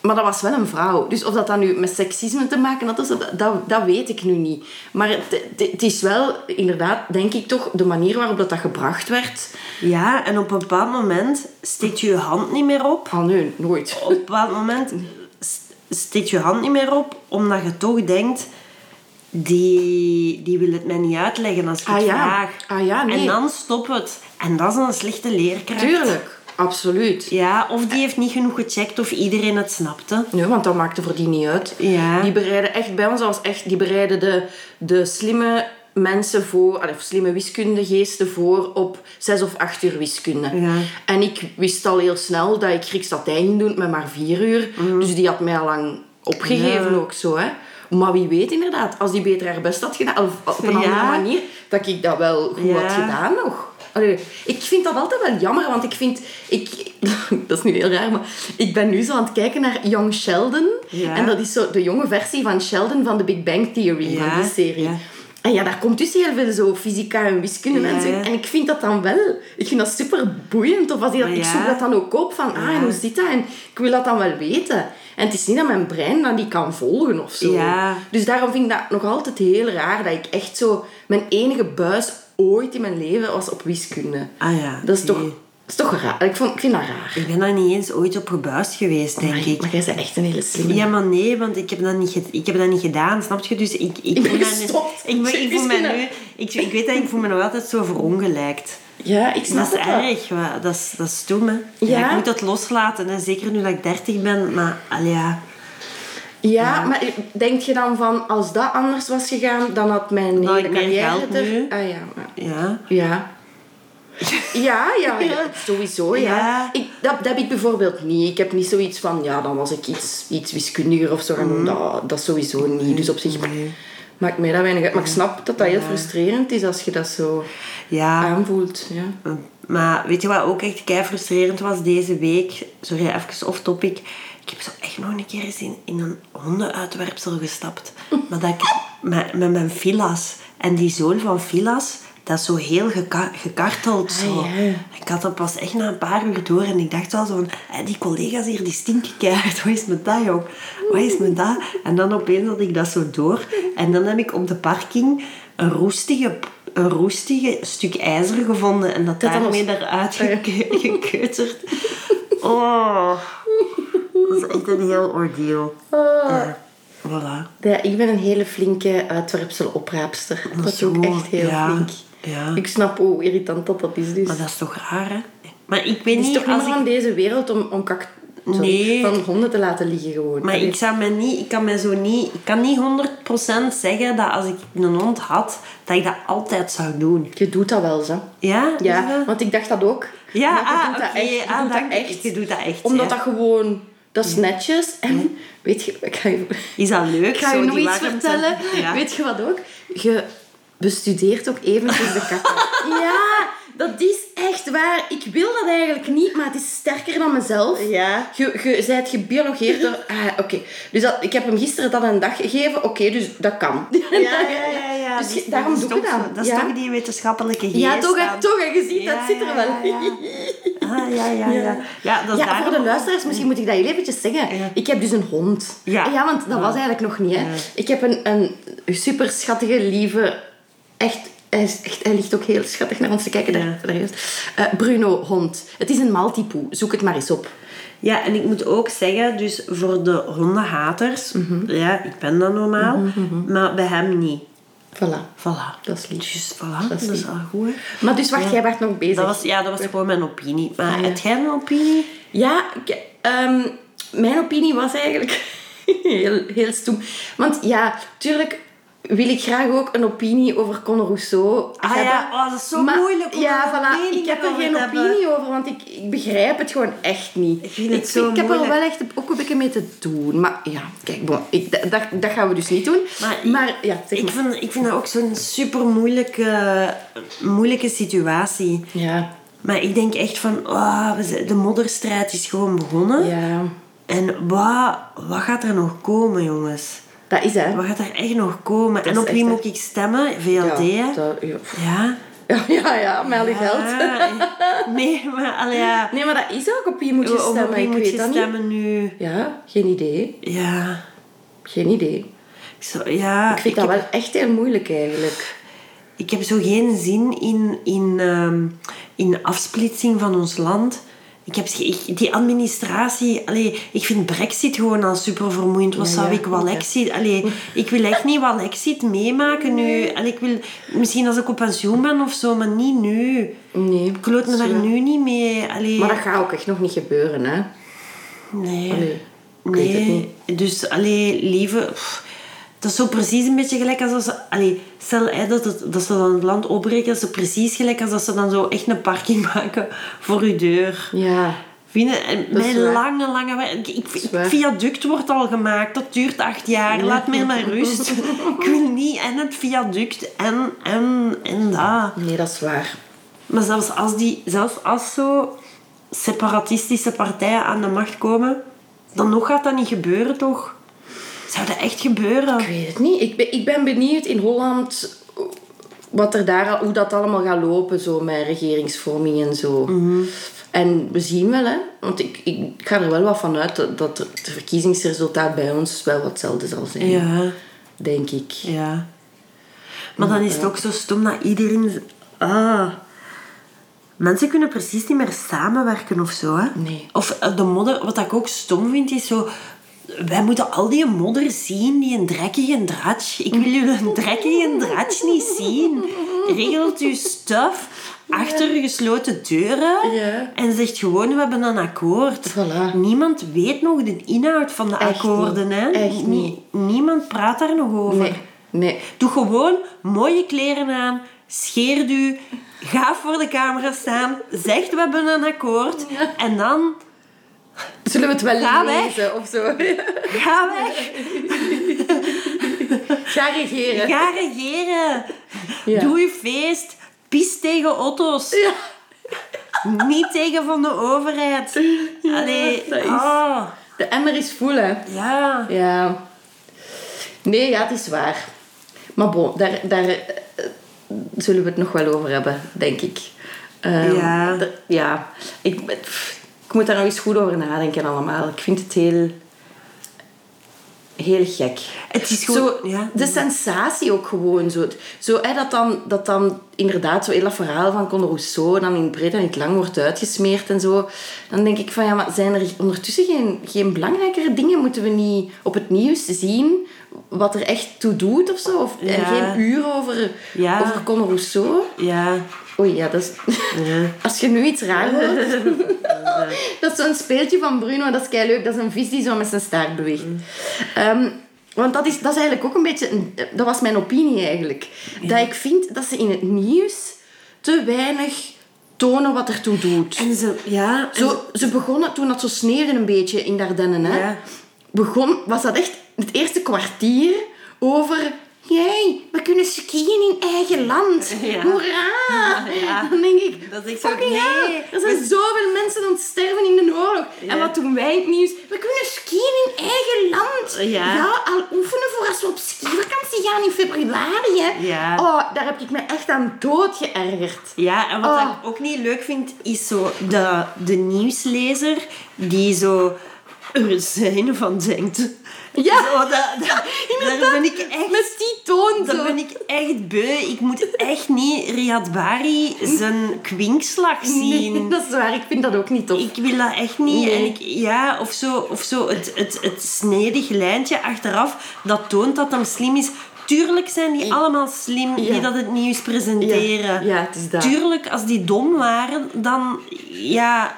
B: maar dat was wel een vrouw. Dus of dat dan nu met seksisme te maken had, dat, dat, dat weet ik nu niet. Maar het, het- het is wel, inderdaad, denk ik toch, de manier waarop dat, dat gebracht werd.
A: Ja, en op een bepaald moment steekt je je hand niet meer op.
B: Ah nee, nooit.
A: Op een bepaald moment st- steekt je hand niet meer op, omdat je toch denkt... Die, die wil het mij niet uitleggen als ik
B: Ah
A: het
B: ja.
A: vraag.
B: Ah ja, nee.
A: En dan stopt het. En dat is een slechte leerkracht.
B: Tuurlijk, absoluut.
A: Ja, of die heeft niet genoeg gecheckt of iedereen het snapte.
B: Nee, want dat maakte voor die niet uit.
A: Ja.
B: Die bereiden echt, bij ons dat was echt, die bereiden de, de slimme mensen voor, allee, of slimme wiskundegeesten voor op zes of acht uur wiskunde.
A: Ja.
B: En ik wist al heel snel dat ik Grieks Latijn ging doen met maar vier uur. Dus die had mij al lang opgegeven
A: Mhm. Ja.
B: ook zo, hè. Maar wie weet inderdaad, als die beter haar best had gedaan, of op een
A: Ja.
B: andere manier, dat ik dat wel goed
A: Ja.
B: had gedaan nog. Allee, ik vind dat altijd wel jammer, want ik vind... Ik, dat is nu heel raar, maar ik ben nu zo aan het kijken naar Young Sheldon.
A: Ja.
B: En dat is zo de jonge versie van Sheldon van de Big Bang Theory,
A: Ja,
B: van die serie.
A: ja.
B: En ja, daar komt dus heel veel zo fysica en wiskunde
A: Ja,
B: en zo.
A: ja.
B: En ik vind dat dan wel... Ik vind dat super boeiend. Of als die dat,
A: Maar
B: Ik
A: ja.
B: zoek dat dan ook op, van ah, en hoe zit dat? En ik wil dat dan wel weten. En het is niet dat mijn brein dan die kan volgen of zo.
A: Ja.
B: Dus daarom vind ik dat nog altijd heel raar dat ik echt zo... Mijn enige buis ooit in mijn leven was op wiskunde.
A: Ah ja,
B: Dat is toch,
A: nee.
B: dat is toch raar. Ik, vond, ik vind dat raar.
A: Ik ben daar niet eens ooit op gebuist geweest, denk ik.
B: Maar jij bent echt een hele slimme.
A: Ja, maar nee, want ik heb dat niet, ge- ik heb dat niet gedaan, snap je? Dus ik, ik,
B: ben
A: voel mij nu-
B: gestopt.
A: Ik, ben- ik, voel mij
B: Wiskunde.
A: nu, ik, ik weet dat ik voel me nog altijd zo verongelijkt.
B: Ja, ik snap
A: Dat is
B: het wel.
A: erg, wa- dat is, dat is stom, hè. Ja,
B: Ja.
A: ik moet dat loslaten, hè. zeker nu dat ik dertig ben. Maar allee, ja.
B: Ja, maar denk je dan van, als dat anders was gegaan, dan had mijn
A: Dan had
B: hele
A: ik meer
B: carrière
A: geld
B: er...
A: nu.
B: Ah ja, maar...
A: ja.
B: Ja. Ja, ja, ja, sowieso, ja.
A: Ja.
B: Ik, dat, dat heb ik bijvoorbeeld niet. Ik heb niet zoiets van, ja, dan was ik iets, iets wiskundiger of zo. gaan doen. Dat, dat sowieso niet. Dus op zich maakt mij dat weinig uit. Maar ik snap dat dat heel frustrerend is als je dat zo
A: ja.
B: aanvoelt. Ja.
A: Maar weet je wat ook echt kei frustrerend was deze week? Sorry, even off topic. Ik heb zo echt nog een keer eens in, in een hondenuitwerpsel gestapt. Maar dat ik met, met mijn Filas en die zoon van Filas, dat is zo heel geka- gekarteld. Zo.
B: Ah, ja.
A: Ik had dat pas echt na een paar uur door en ik dacht wel zo van, "Hé, die collega's hier die stinken keihard, wat is met dat jong? Wat is met dat? En dan opeens had ik dat zo door en dan heb ik op de parking een roestige, een roestige stuk ijzer gevonden en dat,
B: Dat dan
A: daarmee
B: was- Oh
A: eruit geke- gekeuterd. Oh, dat is echt een heel ordeal.
B: Ah.
A: Ja, voilà.
B: Ja, ik ben een hele flinke uitwerpselopraapster. Dat,
A: is
B: is ook
A: gewoon-
B: echt heel
A: ja,
B: flink.
A: ja.
B: Ik snap hoe irritant dat, dat is dus.
A: Maar dat is toch raar, hè? Maar ik weet
B: Het is
A: niet,
B: toch niet
A: als
B: meer
A: ik
B: van deze wereld om, om kak... sorry,
A: Nee.
B: van honden te laten liggen gewoon.
A: Maar
B: Allee.
A: ik, zou mij niet, ik kan mij zo niet... Ik kan niet 100% zeggen dat als ik een hond had, dat ik dat altijd zou doen.
B: Je doet dat wel, zo.
A: Ja? Is
B: Ja,
A: dat-
B: want ik dacht dat ook.
A: Ja,
B: Maar
A: ah,
B: je doet dat
A: oké,
B: echt. Je
A: ah,
B: doet dat
A: dank-
B: echt.
A: je doet dat echt,
B: Omdat
A: ja.
B: dat gewoon... Dat is netjes. En weet je... Ik ga je,
A: Is dat leuk?
B: ik ga
A: zo,
B: je nog
A: die
B: iets
A: warmte?
B: vertellen.
A: Ja.
B: Weet je wat ook? Je bestudeert ook eventjes de katten. ja, dat is echt waar. Ik wil dat eigenlijk niet, maar het is sterker dan mezelf.
A: Ja.
B: Je, je zijt gebiologeerd door... Ah, oké. Dus dat, ik heb hem gisteren dat een dag gegeven. Oké, dus dat kan.
A: Ja, ja, ja, ja. ja.
B: Dus
A: die-
B: je- daarom
A: dat is
B: doe ik
A: toch
B: dat.
A: zo- Dat is
B: Ja.
A: toch die wetenschappelijke geest.
B: Ja, toch, hè,
A: aan-
B: toch, hè, je ziet,
A: Ja,
B: dat zit
A: ja,
B: er wel.
A: ja, ja. Ah, ja, ja, ja. Ja, dat is
B: Ja,
A: daarom-
B: voor de luisteraars, misschien moet ik dat heel eventjes zeggen.
A: Ja.
B: Ik heb dus een hond.
A: Ja.
B: want dat was eigenlijk nog niet. Hè. Ik heb een, een super schattige, lieve... Echt, hij, is echt, hij ligt ook heel schattig naar ons te kijken. Daar,
A: Ja.
B: daar is. Eh, Bruno, hond. Het is een Maltipoe. Zoek het maar eens op.
A: Ja, en ik moet ook zeggen, dus voor de hondenhaters,
B: Mhm.
A: ja, ik ben dat normaal, maar bij hem niet.
B: Voilà.
A: Voilà.
B: Dat is lief.
A: Dus voilà, dat
B: Dat
A: is,
B: is lief.
A: al goed. hè.
B: Maar dus wacht, jij werd nog bezig.
A: Dat was, ja, dat was gewoon mijn opinie. Maar
B: Ja.
A: heb jij een opinie?
B: Ja, ik- ehm, mijn opinie was eigenlijk heel, heel stoem. Want ja, tuurlijk wil ik graag ook een opinie over Conor Rousseau
A: Ah
B: hebben.
A: ja, oh, dat is zo moeilijk om
B: ja,
A: daar een
B: voilà,
A: mening
B: ik heb er
A: over
B: geen
A: te hebben.
B: opinie over, want ik, ik begrijp het gewoon echt niet.
A: Ik vind het
B: ik,
A: zo
B: ik heb er
A: moeilijk.
B: wel echt ook een beetje mee te doen. Maar ja, kijk, bon, ik, dat- dat, dat gaan we dus niet doen.
A: Maar
B: Maar,
A: ik-
B: ja, zeg
A: Ik
B: maar.
A: vind, ik vind dat ook zo'n super moeilijke, moeilijke situatie.
B: Ja,
A: Maar ik denk echt van, ah, we zijn- de modderstrijd is gewoon begonnen.
B: ja,
A: En wat, wat gaat er nog komen, jongens?
B: dat is hè.
A: Wat gaat er echt nog komen? en
B: is
A: op wie
B: echt,
A: moet ik stemmen? VLD,
B: ja,
A: hè?
B: dat- ja.
A: Ja.
B: Ja, ja, ja, met al die geld.
A: Ah, nee, maar allee, ja.
B: Nee, maar dat is ook op wie moet je
A: Om op
B: stemmen.
A: wie
B: Ik
A: moet
B: weet
A: je
B: dat niet.
A: stemmen nu?
B: Ja, geen idee.
A: Ja.
B: Geen idee.
A: Ik zou- ja.
B: Ik vind dat wel echt heel moeilijk eigenlijk.
A: Ik heb zo geen zin in, in, ehm, in de afsplitsing van ons land. Ik heb, ge- ik- die administratie... Allee, ik vind brexit gewoon al super vermoeiend. Wat
B: Ja,
A: zou
B: ja,
A: ik Walexit... Allee, ik wil echt niet Walexit meemaken nu. Allee, ik wil, misschien als ik op pensioen ben of zo, maar niet nu.
B: Nee.
A: Ik kloot me
B: dat is
A: daar
B: waar.
A: nu niet mee. Allee,
B: Maar dat gaat ook echt nog niet gebeuren, hè?
A: nee.
B: Allee, ik weet het
A: nee. Dus, allee, lieve... pff, dat is zo precies een beetje gelijk als als ze... Allee, stel hè, dat, het, dat ze dan het land opbreken, dat is zo precies gelijk als dat ze dan zo echt een parking maken voor uw deur.
B: Ja.
A: Vinden, en
B: Dat is
A: mijn
B: waar.
A: lange, lange... weg- Ik, ik,
B: is waar.
A: viaduct wordt al gemaakt, dat duurt acht jaar. Laat mij maar rust. ik wil niet en het viaduct en, en, en dat.
B: Nee, dat is waar.
A: Maar zelfs als, die, zelfs als zo separatistische partijen aan de macht komen, dan nog gaat dat niet gebeuren, toch? Zou dat echt gebeuren?
B: Ik weet het niet. Ik ben, ik ben benieuwd in Holland wat er daar, al- hoe dat allemaal gaat lopen, zo met regeringsvorming en zo.
A: Mhm.
B: En we zien wel, hè. Want ik, ik ga er wel wat van uit dat, dat het verkiezingsresultaat bij ons wel wat hetzelfde zal zijn.
A: Ja,
B: Denk ik.
A: ja. Maar dan is het ook zo stom dat iedereen... z- Ah. Mensen kunnen precies niet meer samenwerken of zo, hè?
B: Nee.
A: Of eh, de modder... Wat ik ook stom vind, is zo... Wij moeten al die modder zien, die een drekkige en dratsch. Ik wil jullie een drekkige en dratsch niet zien. Regelt uw stuff achter gesloten deuren.
B: Ja.
A: En zegt gewoon, we hebben een akkoord.
B: Voilà.
A: Niemand weet nog de inhoud van de
B: Echt
A: akkoorden.
B: niet.
A: Hè? Nie-
B: Echt niet.
A: Niemand praat daar nog over.
B: Nee, nee.
A: Doe gewoon mooie kleren aan, scheer u, ga voor de camera staan, zegt we hebben een akkoord en dan
B: Zullen we het wel
A: Ga weg.
B: lezen of zo?
A: ga weg,
B: Ga regeren.
A: ga regeren,
B: Ja.
A: doe je feest, pis tegen auto's,
B: Ja.
A: niet tegen van de overheid.
B: Ja,
A: Allee,
B: dat is-
A: ah,
B: De emmer is vol, hè?
A: ja.
B: Ja. Nee, ja, het is waar. Maar bon, daar, daar eh, zullen we het nog wel over hebben, denk ik. Ehm,
A: Ja.
B: d- ja. Ik, ben- pff, ik moet daar nog eens goed over nadenken allemaal. Ik vind het heel... Heel gek.
A: Het is gewoon-
B: Zo,
A: ja.
B: De sensatie ook gewoon. Zo, zo hè, dat, dan, dat dan inderdaad zo heel dat verhaal van Conor Rousseau dan in het breed en in het lang wordt uitgesmeerd en zo. Dan denk ik van ja, maar zijn er ondertussen geen, geen belangrijkere dingen? Moeten we niet op het nieuws zien wat er echt toe doet of zo? Of, En
A: Ja.
B: geen uur over,
A: Ja.
B: over Conor Rousseau?
A: Ja,
B: Oei, ja, dat is... Als je nu iets raar hoort... dat is zo'n speeltje van Bruno, dat is kei leuk. Dat is een vis die zo met zijn staart beweegt. Ehm, want dat is, dat is eigenlijk ook een beetje... een- dat was mijn opinie eigenlijk. Dat ik vind dat ze in het nieuws te weinig tonen wat ertoe doet.
A: en ze, ja, en
B: Zo, ze begonnen toen dat zo sneeuwde een beetje in Ardennen. Hè,
A: Ja.
B: begon, was dat echt het eerste kwartier over Jee, we kunnen skiën in eigen land.
A: Ja.
B: Hoera!
A: Ja.
B: Dan denk ik,
A: Dat is echt zo,
B: fucking
A: nee.
B: hell, Er zijn zoveel mensen aan het sterven in de oorlog.
A: Ja.
B: En wat doen wij in het nieuws? We kunnen skiën in eigen land.
A: Ja.
B: al oefenen voor als we op skivakantie gaan in februari. Hè.
A: Ja.
B: Oh, daar heb ik me echt aan dood geërgerd.
A: Ja, en wat
B: Oh.
A: ik ook niet leuk vind, is zo de, de nieuwslezer die zo er zijn van denkt.
B: Ja.
A: Zo, dat, dat- daar ben ik echt...
B: Met die toon
A: Daar
B: zo.
A: ben ik echt beu. Ik moet echt niet Riyad Bari zijn kwinkslag zien.
B: Nee, dat is waar. Ik vind dat ook niet tof.
A: Ik wil dat echt niet.
B: Nee.
A: En ik, ja, of zo, of zo het, het, het snedig lijntje achteraf, dat toont dat hem slim is. Tuurlijk zijn die allemaal slim, die dat het nieuws presenteren.
B: Ja, ja, het is dat.
A: Tuurlijk, als die dom waren, dan... Ja,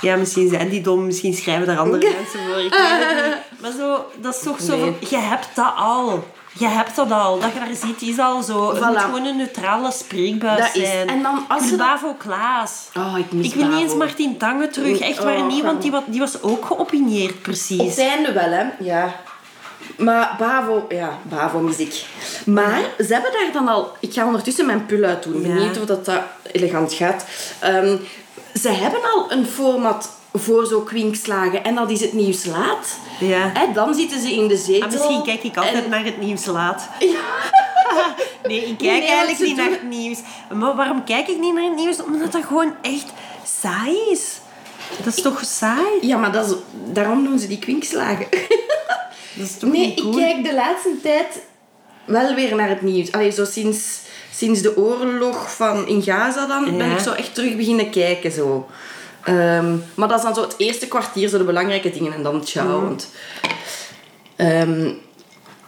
A: ja misschien zijn die dom, misschien schrijven daar andere mensen voor. Ik weet het niet. Maar zo, dat is toch zo... van,
B: Nee.
A: Je hebt dat al. Je hebt dat al. Dat je daar ziet, is al zo. Het
B: Voilà.
A: moet gewoon een neutrale spreekbuis
B: Dat is-
A: zijn.
B: en dan als
A: Ik
B: ze
A: wil
B: dat-
A: Bavo Klaas.
B: Oh, ik mis
A: Ik wil niet eens
B: Bavo.
A: Martien Tange terug.
B: Nee,
A: Echt waar
B: oh,
A: niet, want
B: gaan.
A: die, wa- die was ook geopineerd,
B: Op
A: precies.
B: het einde wel, hè. Ja. Maar Bavo, ja, Bavo muziek. Maar ze hebben daar dan al... Ik ga ondertussen mijn pul uitdoen.
A: Ja.
B: Benieuwd of dat, dat elegant gaat. Ehm, ze hebben al een format voor zo kwinkslagen. En dat is het nieuws laat.
A: Ja.
B: Hè, dan zitten ze in de zetel.
A: Ah, misschien kijk ik altijd
B: en-
A: naar het nieuws laat.
B: Ja.
A: Nee, ik kijk
B: nee, want
A: eigenlijk
B: ze
A: niet
B: doen-
A: naar het nieuws. Maar waarom kijk ik niet naar het nieuws? Omdat dat gewoon echt saai is. Dat is toch saai?
B: Ja, maar dat is, daarom doen ze die kwinkslagen.
A: Dat is toch
B: Nee,
A: niet
B: ik
A: cool?
B: kijk de laatste tijd wel weer naar het nieuws. Allee, zo sinds, sinds de oorlog van in Gaza dan, ben
A: Ja.
B: ik zo echt terug beginnen kijken zo. Ehm, maar dat is dan zo het eerste kwartier, zo de belangrijke dingen en dan ciao.
A: Mhm.
B: want- Ehm,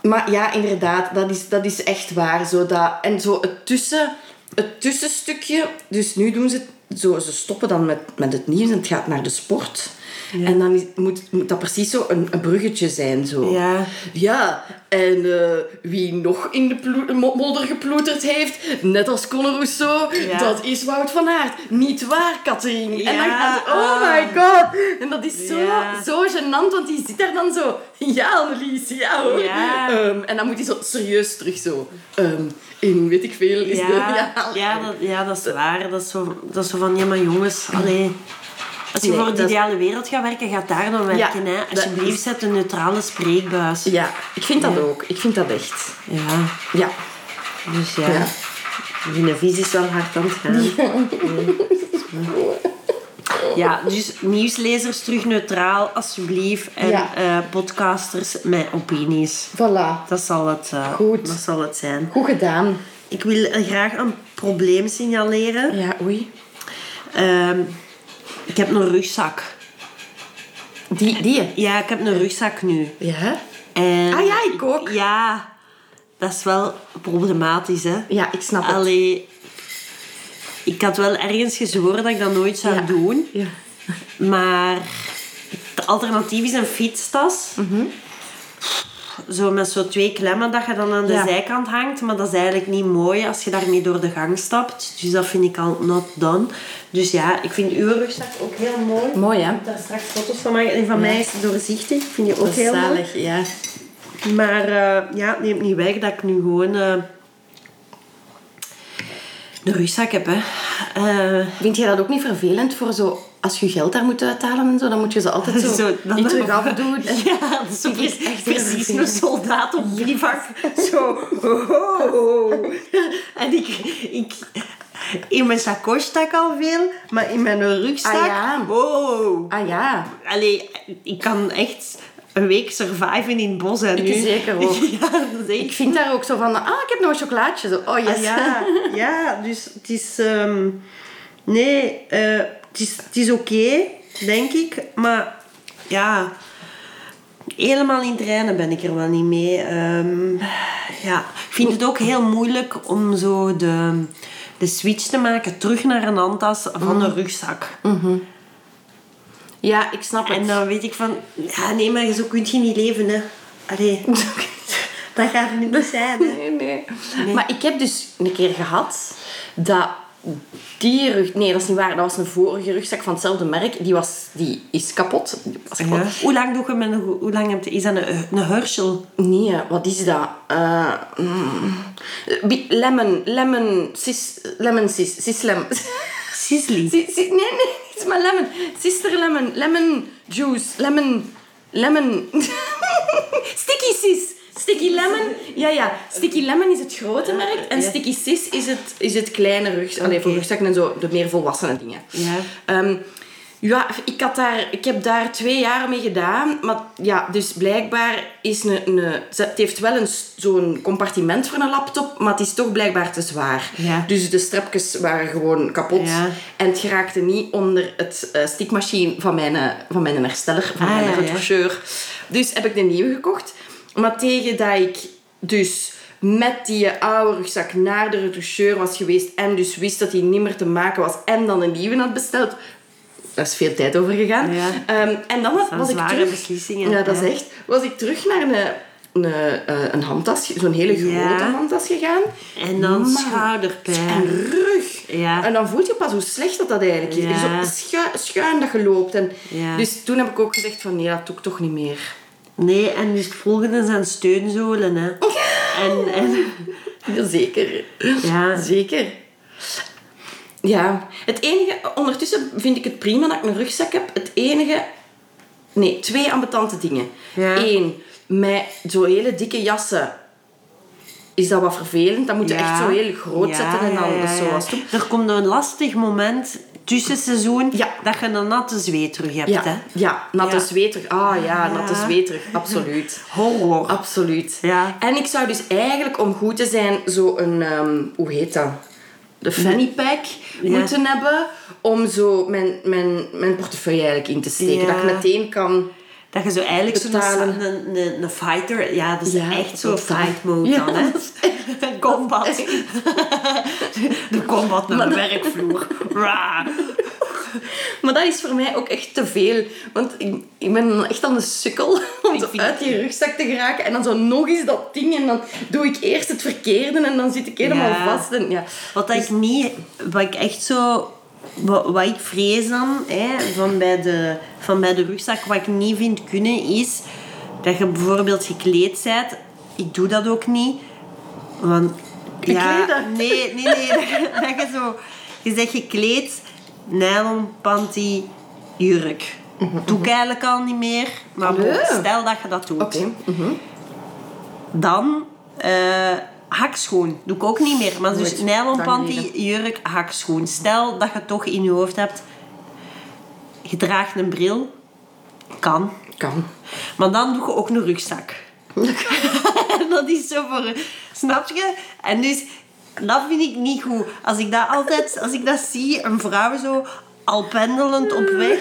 B: maar ja, inderdaad, dat is, dat is echt waar. Zo dat, en zo het, tussen, het tussenstukje. Dus nu doen ze het zo, ze stoppen dan met, met het nieuws en het gaat naar de sport. En dan is- moet, moet dat precies zo een, een bruggetje zijn. Zo.
A: Ja.
B: Ja, en eh, wie nog in de plo- mo- modder geploeterd heeft, net als Conor Rousseau,
A: Ja.
B: dat is Wout van Aert. Niet waar, Catherine? En dan
A: Ja,
B: gaat ze, oh
A: ah.
B: my god. En dat is zo,
A: Ja.
B: zo gênant, want die zit daar dan zo, ja Annelies, ja hoor.
A: Ja.
B: Ehm, en dan moet hij zo serieus terug zo, ehm, in weet ik veel, is de...
A: Ja, ja, dat, ja, dat is waar. Dat is zo, dat is zo van, ja, maar jongens, allee. Als je
B: Nee,
A: voor de
B: dat is-
A: ideale wereld gaat werken, gaat daar dan werken. hè.
B: dat
A: Alsjeblieft,
B: is-
A: zet een neutrale spreekbuis.
B: Ja, ik vind dat ook. Ik vind dat echt.
A: Ja,
B: Ja.
A: dus ja.
B: Ja.
A: Die visie is wel hard aan het gaan. Nee, dat is waar. Ja, dus nieuwslezers terug neutraal, alsjeblieft. En
B: Ja.
A: eh, podcasters met opinies.
B: Voilà.
A: Dat zal het, eh,
B: Goed.
A: Dat zal het zijn.
B: Goed gedaan.
A: Ik wil eh, graag een probleem signaleren.
B: Ja, oei.
A: Ehm, ik heb een rugzak.
B: Die, die.
A: Ja, ik heb een rugzak nu.
B: Ja.
A: En
B: Ah ja, ik ook.
A: Ja, dat is wel problematisch, hè?
B: Ja, ik snap het.
A: Allee, ik had wel ergens gezworen dat ik dat nooit zou
B: Ja.
A: doen.
B: Ja.
A: Maar het alternatief is een fietstas.
B: Mhm.
A: Zo met zo twee klemmen dat je dan aan de
B: Ja.
A: zijkant hangt. Maar dat is eigenlijk niet mooi als je daarmee door de gang stapt. Dus dat vind ik al not done. Dus ja, ik vind uw rugzak ook heel mooi.
B: Mooi, hè?
A: Daar straks foto's van maken. En van mij is het doorzichtig. Ik vind je ook
B: Dat is
A: heel mooi.
B: zalig, ja.
A: Maar eh, ja, het neemt niet weg dat ik nu gewoon eh, de rugzak heb. Hè. Eh,
B: Vind jij dat ook niet vervelend voor zo... Als je geld daar moet uithalen en zo, dan moet je ze altijd zo,
A: Zo, dan-
B: niet terug afdoen.
A: Ja, dat is zo
B: Ik vind
A: precies,
B: het echt heel
A: precies een
B: vervelend.
A: soldaat op bivak. Zo. ho, ho, ho. En ik, ik... In mijn sacoche stak al veel, maar in mijn rugzak...
B: Ah, ja.
A: Wow.
B: Ah ja.
A: Allee, ik kan echt een week surviven in het bos. Hè, nu.
B: zeker ook.
A: Ja, dat is echt
B: Ik vind daar ook zo van... Ah, ik heb nog een chocolaatje. Zo, oh, yes.
A: Ah, ja, ja, dus het is... ehm, nee, eh, het is, het is oké, denk ik. Maar ja, helemaal in trainen ben ik er wel niet mee. Ehm, ja, ik vind het ook heel moeilijk om zo de, de switch te maken terug naar een handtas van een rugzak.
B: Ja, ik snap het.
A: En dan weet ik van... Ja, nee, maar zo kun je niet leven, hè. Allee, dat gaat niet zijn, hè.
B: nee, nee, Maar ik heb dus een keer gehad dat die rug... Nee, dat is niet waar. Dat was een vorige rugzak van hetzelfde merk. Die, was, die is kapot. Die was kapot.
A: Ja. Hoe lang doe je met een, hoe lang heb je, is dat een, een Herschel?
B: Nee, hè, wat is dat? Eh, mm. Bi- lemon, lemon, sis, lemon, sis, sis, lem.
A: Sisley.
B: Si- si- nee, nee, niet maar lemon. Sister lemon, lemon juice, lemon, lemon. Sticky sis. Sticky lemon, ja ja. Sticky lemon is het grote merk en
A: Ah, Ja.
B: sticky sis is het, is het kleine rug, allee, voor
A: Oké.
B: rugzakken en zo, de meer volwassene dingen.
A: Ja.
B: Ehm, ja, ik, had daar, ik heb daar twee jaar mee gedaan. Maar ja, dus blijkbaar is een... een ze- het heeft wel een s- zo'n compartiment voor een laptop, maar het is toch blijkbaar te zwaar.
A: Ja.
B: Dus de strepjes waren gewoon kapot.
A: Ja.
B: En het geraakte niet onder het eh stickmachine van mijn, eh, van mijn hersteller, van
A: Ah,
B: mijn
A: ja, ja.
B: retoucheur. Dus heb ik de nieuwe gekocht. Maar tegen dat ik dus met die oude rugzak naar de retoucheur was geweest en dus wist dat die niet meer te maken was en dan een nieuwe had besteld, daar is veel tijd over gegaan.
A: Ja.
B: Ehm, en dan was,
A: zijn
B: was ik
A: zware
B: terug...
A: beslissingen,
B: Ja, dat
A: ja.
B: is echt. Was ik terug naar een, een, eh, een handtas, zo'n hele grote
A: Ja.
B: handtas gegaan.
A: En dan
B: Man. En
A: schouderpijn.
B: rug.
A: Ja.
B: En dan voel je pas hoe slecht dat, dat eigenlijk is.
A: Ja.
B: Zo schu- schuin dat je loopt. En
A: Ja.
B: Dus toen heb ik ook gezegd van nee, dat doe ik toch niet meer.
A: Nee, en dus het volgende zijn steunzolen, hè. En, en
B: Zeker.
A: Ja.
B: Zeker. Ja. Het enige, ondertussen vind ik het prima dat ik een rugzak heb. Het enige, nee, twee ambetante dingen.
A: Ja.
B: Eén, met zo'n hele dikke jassen is dat wat vervelend. Dat moet je
A: Ja.
B: echt zo heel groot
A: Ja,
B: zetten en dan dus
A: ja,
B: dat
A: ja,
B: is zo
A: ja.
B: als toe.
A: Er komt een lastig moment tussen seizoen
B: Ja.
A: dat je een natte zweet terug hebt,
B: Ja,
A: hè.
B: ja, natte
A: Ja.
B: zweetrug. Ah ja, natte
A: Ja.
B: zweetrug, absoluut.
A: Horror.
B: Ah. Absoluut.
A: Ja.
B: En ik zou dus eigenlijk, om goed te zijn, zo'n... ehm, hoe heet dat? De fanny pack
A: Ja.
B: moeten hebben om zo mijn, mijn, mijn portefeuille eigenlijk in te steken.
A: Ja.
B: Dat ik meteen kan...
A: Dat je zo eigenlijk zo'n
B: Betalen.
A: een, een, een fighter... Ja, dat is
B: Ja,
A: echt zo'n
B: totaal.
A: fight mode
B: Ja,
A: dan, hè.
B: dat is
A: combat. De combat naar de werkvloer. Ra.
B: Maar dat is voor mij ook echt te veel. Want ik, ik ben echt aan de sukkel om
A: Ik
B: zo
A: vind-
B: uit die rugzak te geraken. En dan zo nog eens dat ding. En dan doe ik eerst het verkeerde en dan zit ik helemaal
A: Ja.
B: vast. En, ja.
A: Wat dat ik niet, wat ik echt zo, wat, wat ik vrees dan hè, van, bij de, van bij de rugzak, wat ik niet vind kunnen, is dat je bijvoorbeeld gekleed bent. Ik doe dat ook niet, want
B: Gekleden?
A: nee, nee, nee, dat, je- dat je zo, je zegt gekleed, nylon panty, jurk. Doe ik eigenlijk al niet meer, maar bon,
B: Allee.
A: stel dat je dat doet.
B: Oké. mhm.
A: Dan eh, hakschoen. Doe ik ook niet meer. Maar dus
B: Nooit.
A: nylon
B: Lang
A: panty,
B: geleden.
A: jurk, hakschoen. Stel dat je het toch in je hoofd hebt. Je draagt een bril. Kan.
B: Kan.
A: Maar dan doe je ook een rugzak. En dat is zo voor... Snap je? En dus, dat vind ik niet goed. Als ik dat altijd... Als ik dat zie, een vrouw zo al pendelend op weg.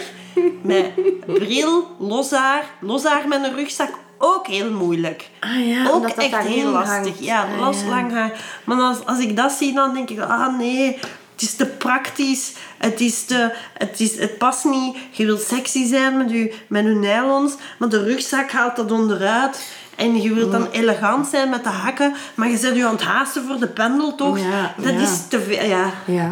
A: Met bril, los haar. Los haar met een rugzak. Ook heel moeilijk.
B: Ah ja,
A: ook
B: omdat dat
A: echt
B: daar
A: heel
B: heel
A: lastig.
B: hangt.
A: Ja,
B: Ah
A: los
B: ja.
A: lang haar. Maar als, als ik dat zie, dan denk ik... Ah nee, het is te praktisch. Het, is te, het, is, het past niet. Je wilt sexy zijn met je, met je nylons. Maar de rugzak haalt dat onderuit. En je wilt
B: Oh.
A: dan elegant zijn met de hakken. Maar je zet je aan het haasten voor de pendeltocht.
B: Ja,
A: dat
B: ja.
A: is te veel. Ja.
B: Ja.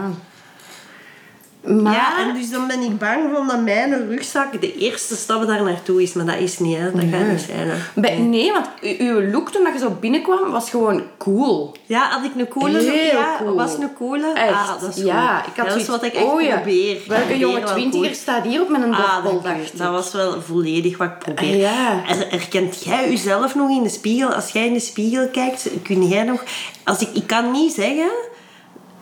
B: Maar...
A: ja, en dus dan ben ik bang van dat mijn rugzak de eerste stap daar naartoe is. Maar dat is niet, hè. Dat gaat niet zijn, hè.
B: Bij- nee, want u- uw look toen dat je zo binnenkwam was gewoon cool.
A: Ja, had ik een coole...
B: Heel
A: ja,
B: cool.
A: was een coole...
B: Echt.
A: Ah, dat is
B: ja,
A: goed.
B: ik had
A: dat is
B: zoiets-
A: wat ik echt
B: oh ja,
A: probeer. Ik
B: Welke
A: probeer
B: jonge
A: wel cool
B: twintiger staat hier op met een
A: Ah,
B: dorpel,
A: dat,
B: dacht ik. Ah,
A: dat was wel volledig wat ik probeer.
B: Ja.
A: Er- Herkent jij jezelf nog in de spiegel? Als jij in de spiegel kijkt, kun jij nog... Als ik, ik kan niet zeggen...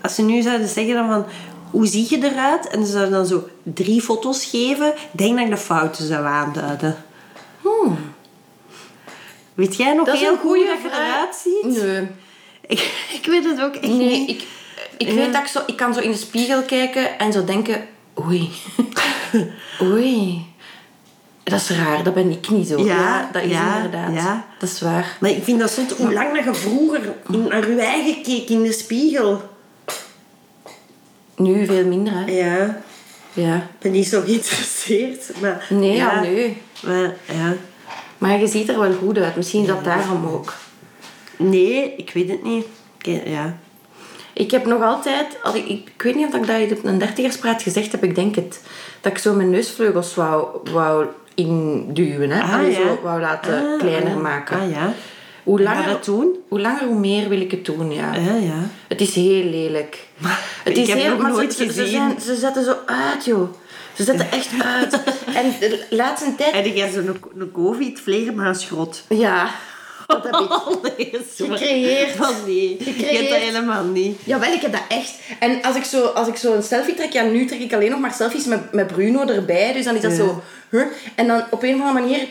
A: Als ze nu zouden zeggen dan van... Hoe zie je eruit? En ze zouden dan zo drie foto's geven. Ik denk dat ik de fouten zou aanduiden. Weet jij nog
B: Hmm. Dat is
A: heel
B: een
A: goed
B: goede
A: hoe je eruit ziet?
B: Nee.
A: Ik, ik weet het ook echt
B: Nee,
A: niet.
B: ik, ik
A: Ja.
B: weet dat ik zo... Ik kan zo in de spiegel kijken en zo denken... Oei. Oei. Dat is raar, dat ben ik niet zo.
A: Ja,
B: Ja, dat is
A: ja,
B: inderdaad.
A: ja.
B: Dat is waar.
A: Maar ik vind dat zot hoe lang dat je vroeger in- naar je eigen keek in de spiegel.
B: Nu veel minder, hè.
A: Ja,
B: Ja.
A: ik ben niet zo geïnteresseerd. Maar,
B: Nee, ja, nee.
A: Maar, ja.
B: Maar je ziet er wel goed uit. Misschien is dat daarom ook.
A: Nee, ik weet het niet. Ik- eh, ja.
B: Ik heb nog altijd, had ik, ik, ik weet niet of ik dat op een dertigerspraat gezegd heb, ik denk het, dat ik zo mijn neusvleugels wou, wou induwen. Hè?
A: Ah,
B: Allee,
A: ja.
B: zo wou laten
A: Ah,
B: kleiner
A: ah.
B: maken.
A: Ah ja.
B: Hoe
A: En ga
B: langer,
A: dat doen?
B: hoe langer, hoe meer wil ik het doen, ja.
A: Ah ja.
B: Het is heel lelijk. het
A: ik heb nog
B: maar ze-
A: nooit
B: ze, ze
A: gezien.
B: zijn- ze zetten zo uit, joh. Ze zetten echt uit. En de laatste tijd...
A: En jij zo'n een covid-vleermuisgrot.
B: Ja, Oh, dat heb ik.
A: nee, sorry.
B: Gecreëerd.
A: Van nee. Je hebt dat
B: Gecreëerd.
A: helemaal niet.
B: Jawel, ik heb dat echt. En als ik, zo, als ik zo een selfie trek, ja, nu trek ik alleen nog maar selfies met, met Bruno erbij. Dus dan is dat
A: Ja.
B: zo. Huh? En dan op een of andere manier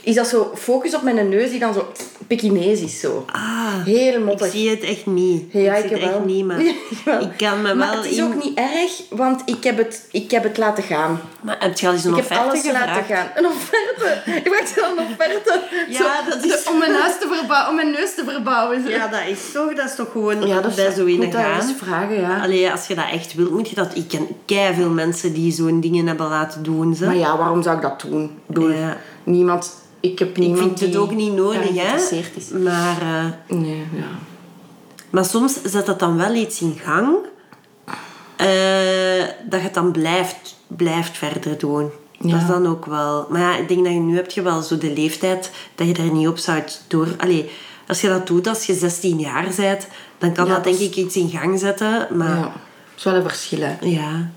B: is dat zo focus op mijn neus, die dan zo pekinees is. Zo.
A: Ah.
B: Heel
A: Ik
B: mottig.
A: zie het echt niet.
B: Ja,
A: ik zie
B: ik heb
A: het echt
B: wel.
A: niet, maar
B: Ja, wel.
A: ik kan me
B: Maar
A: wel
B: het is
A: in-
B: ook niet erg, want ik heb het, ik heb het laten gaan.
A: Maar heb je al eens een
B: Ik heb
A: offerte
B: alles
A: gevraagd?
B: laten gaan. Een offerte. Ik maakte dan een offerte.
A: Ja,
B: Zo, dus
A: dat is-
B: Om mijn, huis te verbouwen, om mijn neus te verbouwen.
A: Ja, dat is toch, dat is toch gewoon
B: dat
A: bij zo in
B: moet daar eens
A: gaan.
B: vragen, ja.
A: Allee, als je dat echt wilt, moet je dat... Ik ken veel mensen die zo'n dingen hebben laten doen. Ze.
B: Maar ja, waarom zou ik dat doen? Ik bedoel,
A: Ja.
B: niemand... Ik heb
A: ik
B: niemand
A: vind het
B: die
A: ook niet nodig,
B: daarin
A: hè.
B: geïnteresseerd is.
A: Maar, eh,
B: Nee, ja.
A: maar soms zet dat dan wel iets in gang. eh, dat je het dan blijft, blijft verder doen. Dat is
B: Ja.
A: dan ook wel... Maar ja, ik denk dat je nu heb je wel zo de leeftijd dat je er niet op zou het door... Allee, als je dat doet als je 16 jaar bent, dan kan
B: Ja,
A: dat
B: dat
A: denk
B: is-
A: ik iets in gang zetten. Maar...
B: ja. Dat is wel een verschil, hè.
A: Ja.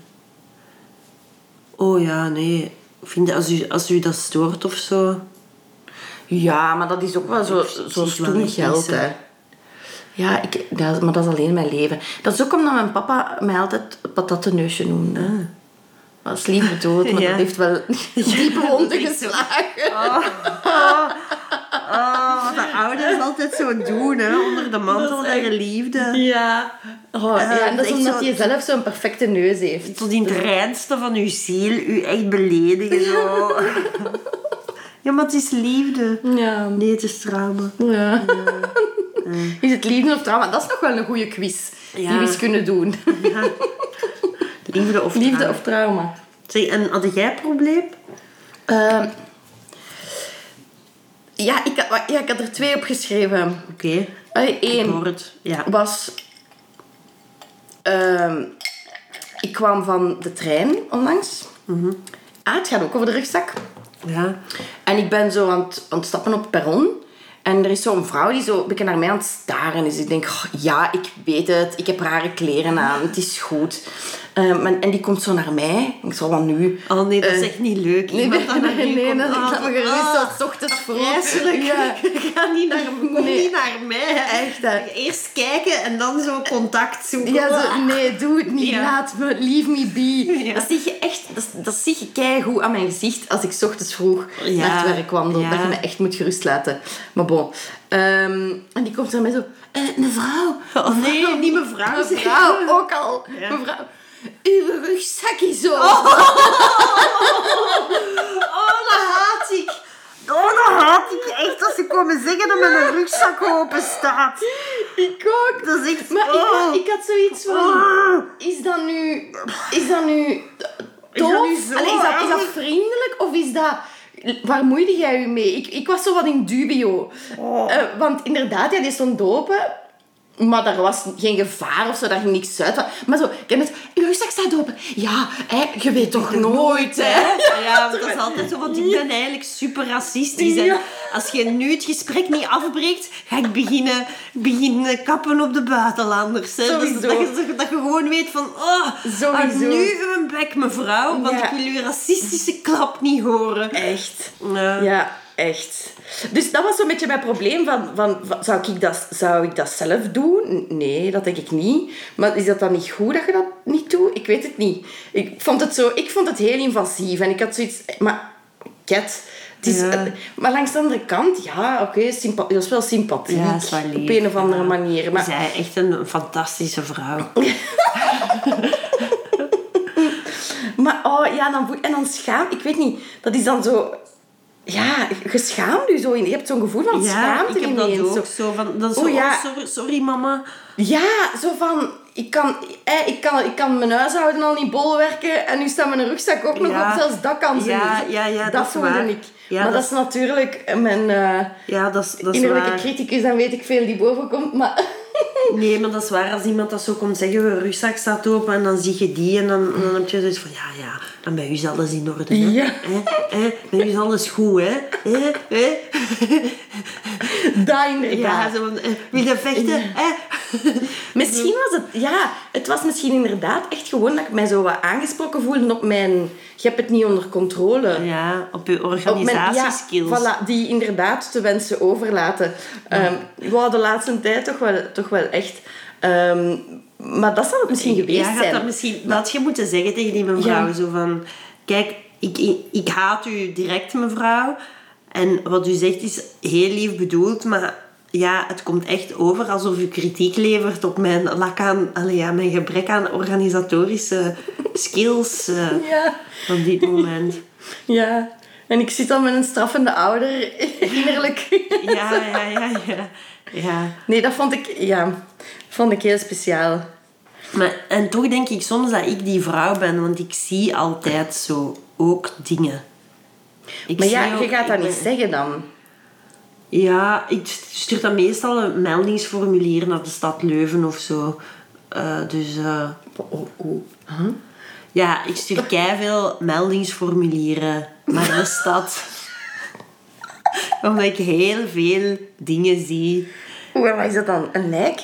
A: Oh ja, nee. Ik Vind dat als, u, als u dat stoort of zo.
B: Ja, maar dat is ook wel zo,
A: zie
B: zo
A: het wel
B: stoem
A: echt
B: geld,
A: niet, hè.
B: hè. Ja, ik, dat, maar dat is alleen mijn leven. Dat is ook omdat mijn papa mij altijd patattenneusje noemde. Dat is liever dood, maar
A: Ah. Ja.
B: dat heeft wel diepe wonden geslagen.
A: Oh, wat de ouders altijd zo doen, hè. Onder de mantel der liefde.
B: Ja. Oh, ja, en dat is
A: Ah, echt
B: omdat
A: zo-
B: hij zelf zo'n perfecte neus heeft.
A: Tot in het reinste van uw ziel u echt beledigen, zo. Ja, maar het is liefde.
B: Ja.
A: Nee, het is trauma.
B: Ja. Is het liefde of trauma? Dat is nog wel een goede quiz.
A: Ja.
B: Die we eens kunnen doen.
A: Ja. Liefde of trauma.
B: Liefde of trauma?
A: Zeg, en had jij een probleem?
B: Ehm, ja, ik had, ja, ik had er twee op geschreven.
A: Oké, ik hoor
B: Eén
A: het. Ja.
B: was... ehm, ik kwam van de trein onlangs. Ah, het gaat ook over de rugzak.
A: Ja.
B: En ik ben zo aan het, aan het stappen op het perron. En er is zo'n vrouw die zo een beetje naar mij aan het staren is. Ik denk, "Oh, ja, ik weet het. Ik heb rare kleren aan. Het is goed. Ehm, en, en die komt zo naar mij. Ik zal wat nu.
A: Oh nee, dat is
B: Eh,
A: echt niet leuk.
B: Nee,
A: Iemand
B: nee,
A: dat naar
B: nee,
A: u
B: nee,
A: komt
B: nee,
A: aan.
B: laat me gerust.
A: Ah.
B: Dat is ochtends vroeg.
A: Vreselijk.
B: Ja.
A: Ga niet naar, kom
B: Nee.
A: niet naar mij. hè.
B: Echt, hè.
A: Eerst kijken en dan zo contact zoeken.
B: Ja, zo, nee, doe het niet.
A: Ja.
B: Laat me, leave me be.
A: Ja.
B: Dat zie je echt, dat, dat zie je keigoed aan mijn gezicht als ik 's ochtends vroeg
A: Ja.
B: naar het werk wandel.
A: Ja.
B: Dat je me echt moet gerust laten. Maar bon. Ehm, en die komt zo mij zo, eh, mevrouw.
A: Oh, nee,
B: mevrouw,
A: niet mevrouw,
B: Mevrouw,
A: zeg.
B: ook al.
A: Ja.
B: Mevrouw, uw rugzak is zo.
A: Oh, dat haat ik. Oh, dat haat ik echt. Als ze komen zeggen dat mijn rugzak open staat.
B: Ik ook.
A: Dat is echt...
B: Maar ik,
A: oh.
B: had- ik had zoiets van...
A: Ah.
B: Is dat nu... Is dat nu...
A: Is dat
B: Tof?
A: nu zo
B: Allee, is, dat, is dat
A: erg?
B: vriendelijk of is dat... Waar moeide jij je mee? Ik, ik was zo wat in dubio.
A: Oh.
B: Eh, want inderdaad, ja, die stond open. Maar daar was geen gevaar of zo, daar ging niks uit. Maar zo, ik heb net... Je rugzak staat open. Ja, hè, je weet toch nooit, hè?
A: Ja, want dat is altijd zo, want ik ben eigenlijk super racistisch. En
B: Ja.
A: als je nu het gesprek niet afbreekt, ga ik beginnen, beginnen kappen op de buitenlanders. Hè. Dus
B: Sowieso.
A: dat, je, dat je gewoon weet van, oh,
B: Sowieso.
A: houd nu uw bek mevrouw, want ik
B: Ja.
A: wil uw racistische klap niet horen.
B: Echt.
A: Ja.
B: Ja, echt. Dus dat was zo'n beetje mijn probleem. Van, van, van, zou, ik dat, zou ik dat zelf doen? Nee, dat denk ik niet. Maar is dat dan niet goed dat je dat niet doet? Ik weet het niet. Ik vond het, zo, ik vond het heel invasief. En ik had zoiets... Maar, ket. Het is,
A: Ja.
B: eh, Maar langs de andere kant, ja, oké, sympa- dat is wel sympathiek.
A: Ja, dat is wel lief,
B: op een of andere
A: ja.
B: manier. Maar
A: Zij echt een fantastische vrouw.
B: Maar oh ja, dan voel- en dan schaam. Ik weet niet, dat is dan zo. Ja, geschaamd u zo in. Je hebt zo'n gevoel van
A: Ja,
B: schaamte
A: ik heb dat
B: ineens,
A: ook
B: zo.
A: zo. Van, dat is
B: Oh,
A: zo,
B: ja.
A: oh, sorry, sorry mama.
B: Ja, zo van. Ik kan, eh, ik, kan, ik kan mijn huishouden al niet bolwerken en nu staat mijn rugzak ook nog
A: Ja.
B: op, zelfs dat kan ze
A: Ja,
B: niet.
A: ja, ja,
B: dat
A: dat is
B: voelde
A: waar.
B: ik.
A: Ja, dat
B: maar dat is natuurlijk mijn eh,
A: Ja, dat is, dat is
B: innerlijke
A: waar.
B: criticus, dan weet ik veel die boven komt. Maar
A: Nee, maar dat is waar. Als iemand dat zo komt zeggen, uw rugzak staat open en dan zie je die en dan, dan heb je zoiets van, ja, ja, en bij u is alles in orde. Hè?
B: Ja.
A: Hè? Hè? Bij u is alles goed, hè? Hè? Hè?
B: Dat inderdaad.
A: Ja, zo van, eh, wil je vechten? Hè?
B: Misschien was het... Ja, het was misschien inderdaad echt gewoon dat ik mij zo wat aangesproken voelde op mijn... Je hebt het niet onder controle.
A: Ja, op uw
B: Op mijn-
A: organisatieskills.
B: Ja, voilà, die inderdaad te wensen overlaten. Ehm ik wou de laatste tijd toch wel, toch wel echt... ehm, maar dat zal het misschien geweest
A: ja, gaat
B: zijn.
A: dat misschien... Dat had je moeten zeggen tegen die mevrouw.
B: Ja.
A: Zo van... Kijk, ik, ik, ik haat u direct, mevrouw. En wat u zegt is heel lief bedoeld, maar... Ja, het komt echt over alsof u kritiek levert op mijn lak aan... Allee, ja, mijn gebrek aan organisatorische skills eh,
B: Ja,
A: op dit moment.
B: ja. En ik zit dan met een straffende ouder, innerlijk.
A: Ja, ja, ja, ja. ja.
B: Nee, dat vond ik, ja, vond ik heel speciaal.
A: Maar, en toch denk ik soms dat ik die vrouw ben, want ik zie altijd zo ook dingen. Ik
B: Maar ja,
A: zie ook-
B: je gaat dat
A: ik
B: niet
A: ben-
B: zeggen dan.
A: Ja, ik stuur dan meestal een meldingsformulier naar de stad Leuven of zo. Eh, dus eh,
B: Oh, oh.
A: ja, ik stuur veel meldingsformulieren naar de stad. Omdat ik heel veel dingen zie.
B: Oeh, en wat is dat dan? Een lijk?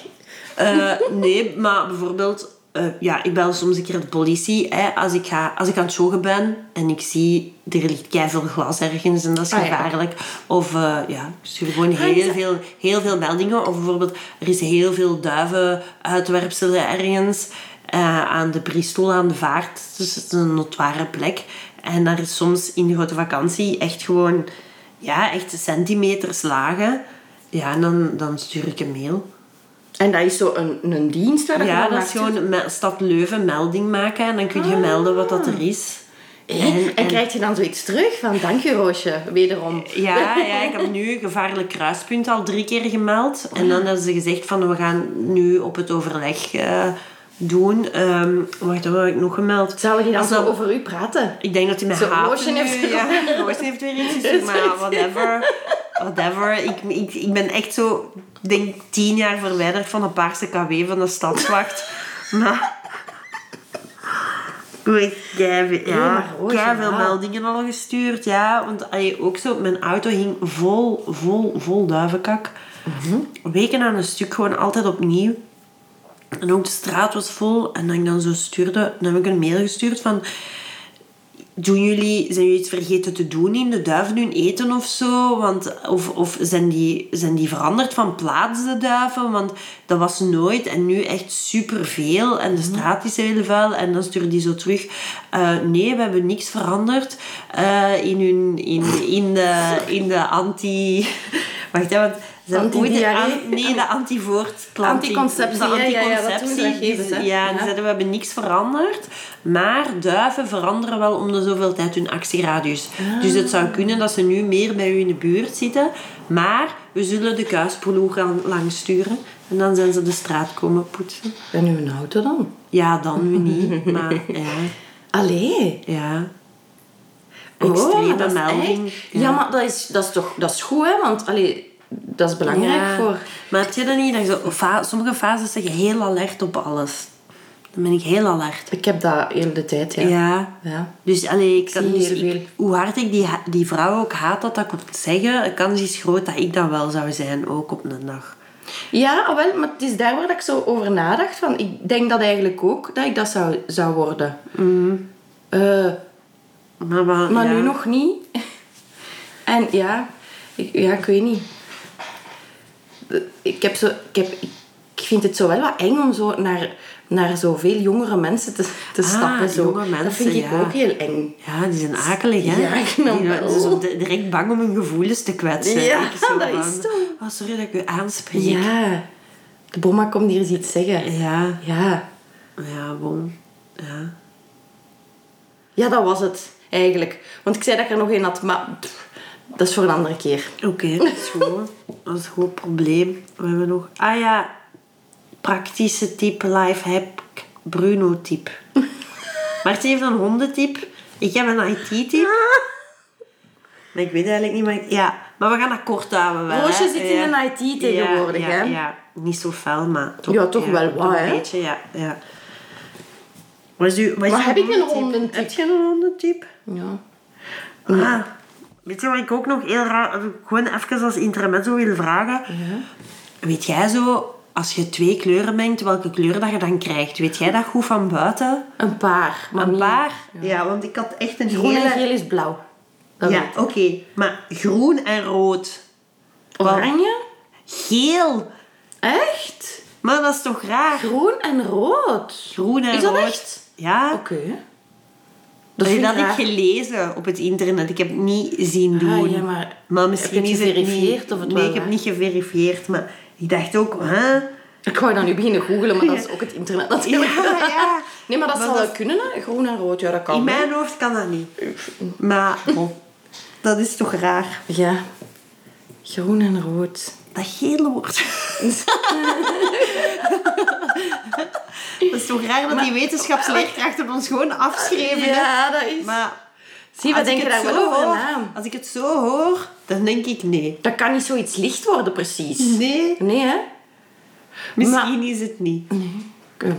A: Eh, nee, maar bijvoorbeeld, eh, ja, ik bel soms een keer de politie hè, als, ik ga, als ik aan het joggen ben en ik zie er ligt keiveel glas ergens en dat is
B: Ah, ja. Ah,
A: gevaarlijk. Of eh, ja, ik stuur gewoon
B: is
A: heel,
B: dat-
A: veel, heel veel meldingen. Of bijvoorbeeld, er is heel veel duivenuitwerpselen ergens eh, aan de Bristol, aan de vaart. Dus het is een notoire plek. En daar is soms in de grote vakantie echt gewoon, ja, echt centimeters lagen. Ja, en dan, dan stuur ik een mail.
B: En dat is zo een, een dienst waar je
A: Ja, Ah.
B: dan
A: dat is
B: naartoe-
A: gewoon me- stad Leuven melding maken en dan kun je melden wat dat er is.
B: Hè? En, krijg je dan zoiets terug van dank je Roosje, wederom.
A: Ja, ja, ik heb nu gevaarlijk kruispunt al drie keer gemeld. En dan hebben ze gezegd van we gaan nu op het overleg eh, doen. Ehm wacht, wat heb ik nog gemeld?
B: Zouden die dan
A: Als
B: zo
A: dat-
B: over u praten?
A: Ik denk dat hij mij
B: Zo,
A: haat.
B: Roosje
A: nu.
B: heeft-
A: ja, Roosje heeft weer iets gezegd, maar whatever. Whatever. Ik, ik, ik ben echt zo, ik denk tien jaar verwijderd van de paarse KW van de stadswacht. Maar... Ik weet keiveel,
B: Nee,
A: ja,
B: maar Roosje,
A: keiveel
B: ja.
A: meldingen al gestuurd, ja. Want allee, ook zo, mijn auto hing vol, vol, vol duivenkak. Weken aan een stuk, gewoon altijd opnieuw. En ook de straat was vol. En dan ik dan zo stuurde, dan heb ik een mail gestuurd van... Doen jullie, zijn jullie iets vergeten te doen in de duiven hun eten of zo? Want, of of zijn, die, zijn die veranderd van plaats, de duiven? Want dat was nooit en nu echt superveel. En de straat is heel vuil. En dan stuurde die zo terug. eh, nee, we hebben niks veranderd eh, in, hun, in, in, de, in de anti... Wacht, hè, want... Ze hebben ooit de,
B: Antidiarree.
A: an- nee, de antivoortplanting.
B: Anticonceptie,
A: De
B: ja, ja, ja, dat doen
A: anticonceptie.
B: ze, dat
A: die
B: geven ze, hè.
A: ze- ja, die
B: Ja.
A: zeiden, we hebben niks veranderd. Maar duiven veranderen wel om de zoveel tijd hun actieradius.
B: Ah.
A: Dus het zou kunnen dat ze nu meer bij u in de buurt zitten. Maar we zullen de kuisploeg aan- langs sturen. En dan zijn ze de straat komen poetsen.
B: En uw auto dan?
A: Ja, dan nu niet. Maar ja,
B: Allee.
A: ja.
B: Oh,
A: Extreme
B: dat is
A: melding.
B: echt- Ja, maar dat is, dat is toch dat is goed, hè? Want allee, dat is belangrijk
A: Ja.
B: voor...
A: Maar heb je dat niet? Dat je zo, fa- sommige fases zeg je heel alert op alles. Dan ben ik heel alert.
B: Ik heb dat heel de tijd, ja.
A: Ja.
B: Ja.
A: Dus allee, ik kan
B: zie
A: dus
B: hier
A: ik-
B: veel.
A: hoe hard ik die, ha- die vrouw ook haat dat dat komt zeggen, de kans is groot dat ik dat wel zou zijn, ook op een dag.
B: Ja, ah, wel, maar het is daar waar dat ik zo over nadacht. Van, ik denk dat eigenlijk ook, dat ik dat zou, zou worden. Eh,
A: Maar, maar,
B: maar
A: ja.
B: nu nog niet. En ja, ik, ja, ik weet niet. Eh, Ik, heb zo, ik, heb, ik vind het zo wel wat eng om zo naar, naar zoveel jongere mensen te, te
A: Ah,
B: stappen. Zo.
A: jonge mensen,
B: dat vind ik
A: ja.
B: ook heel eng.
A: Ja, die zijn akelig, hè?
B: Ja, ik ben
A: Die
B: wel.
A: zijn zo di- direct bang om hun gevoelens te kwetsen.
B: Ja,
A: Ik zo
B: dat
A: van,
B: is toch.
A: Oh, sorry dat ik u aanspreek.
B: Ja. De bomma komt hier eens iets zeggen.
A: Ja,
B: Ja.
A: ja, bon. Ja.
B: Ja, dat was het. Eigenlijk. Want ik zei dat ik er nog één had, maar... pff, dat is voor een andere keer.
A: Oké, dat is goed. dat is een goed probleem. We hebben nog... Ah ja, praktische tip, lifehack, Bruno-tip. Martje heeft een hondentip. Ik heb een IT-tip. Maar ik weet eigenlijk niet, maar ik- ja. Maar we gaan dat kort houden wel.
B: Roosje
A: hè.
B: zit in
A: Ja.
B: een IT tegenwoordig,
A: ja,
B: hè?
A: Ja, niet zo fel, maar toch,
B: Ja, toch wel wat,
A: een
B: hè?
A: beetje, ja. ja. Wat, is uw, wat, is
B: Maar
A: uw
B: heb ik een
A: hondentype?
B: hondentype?
A: Heb je een hondentype?
B: Ja.
A: Ah, weet je wat ik ook nog heel raar... Gewoon even als intermezzo wil vragen. Weet jij zo, als je twee kleuren mengt, welke kleur dat je dan krijgt? Weet jij dat goed van buiten?
B: Een paar. Maar
A: een
B: niet-
A: paar? Ja. want ik had echt een
B: Groen en
A: hele...
B: geel is blauw. Dat
A: ja,
B: weet ik.
A: oké. Maar groen en rood.
B: Oranje?
A: Geel.
B: Echt?
A: Maar dat is toch raar?
B: Groen en rood.
A: Groen en
B: Is dat
A: rood.
B: echt?
A: Ja.
B: Oké.
A: Dat,
B: vind ik
A: dat heb
B: raar. Ah,
A: ik gelezen op het internet. Ik heb het niet zien doen.
B: ja, maar
A: misschien
B: heb je het
A: is het
B: geverifieerd
A: niet,
B: of het
A: Nee,
B: wel
A: ik heb
B: waar?
A: niet geverifieerd. Maar ik dacht ook... Huh?
B: Ik wou dan nu beginnen googelen, maar dat is ook het internet natuurlijk.
A: Ja, ja.
B: Nee, maar dat
A: Maar
B: zou
A: dat-
B: wel kunnen, hè? groen en rood. Ja, dat kan.
A: In
B: hè.
A: mijn hoofd kan dat niet. Maar dat is toch raar.
B: Ja. Groen en rood.
A: Dat gele wordt. dat is toch raar dat die wetenschapsleerkrachten ons gewoon afschreven. hè?
B: Ja, dat is...
A: Maar
B: Zie, we
A: als ik
B: denken
A: het
B: daar
A: zo
B: wel over
A: hoor-
B: na.
A: Als ik het zo hoor, dan denk ik nee.
B: Dat kan niet zoiets licht worden, precies.
A: Nee,
B: Nee, hè?
A: misschien is het niet.
B: Eh,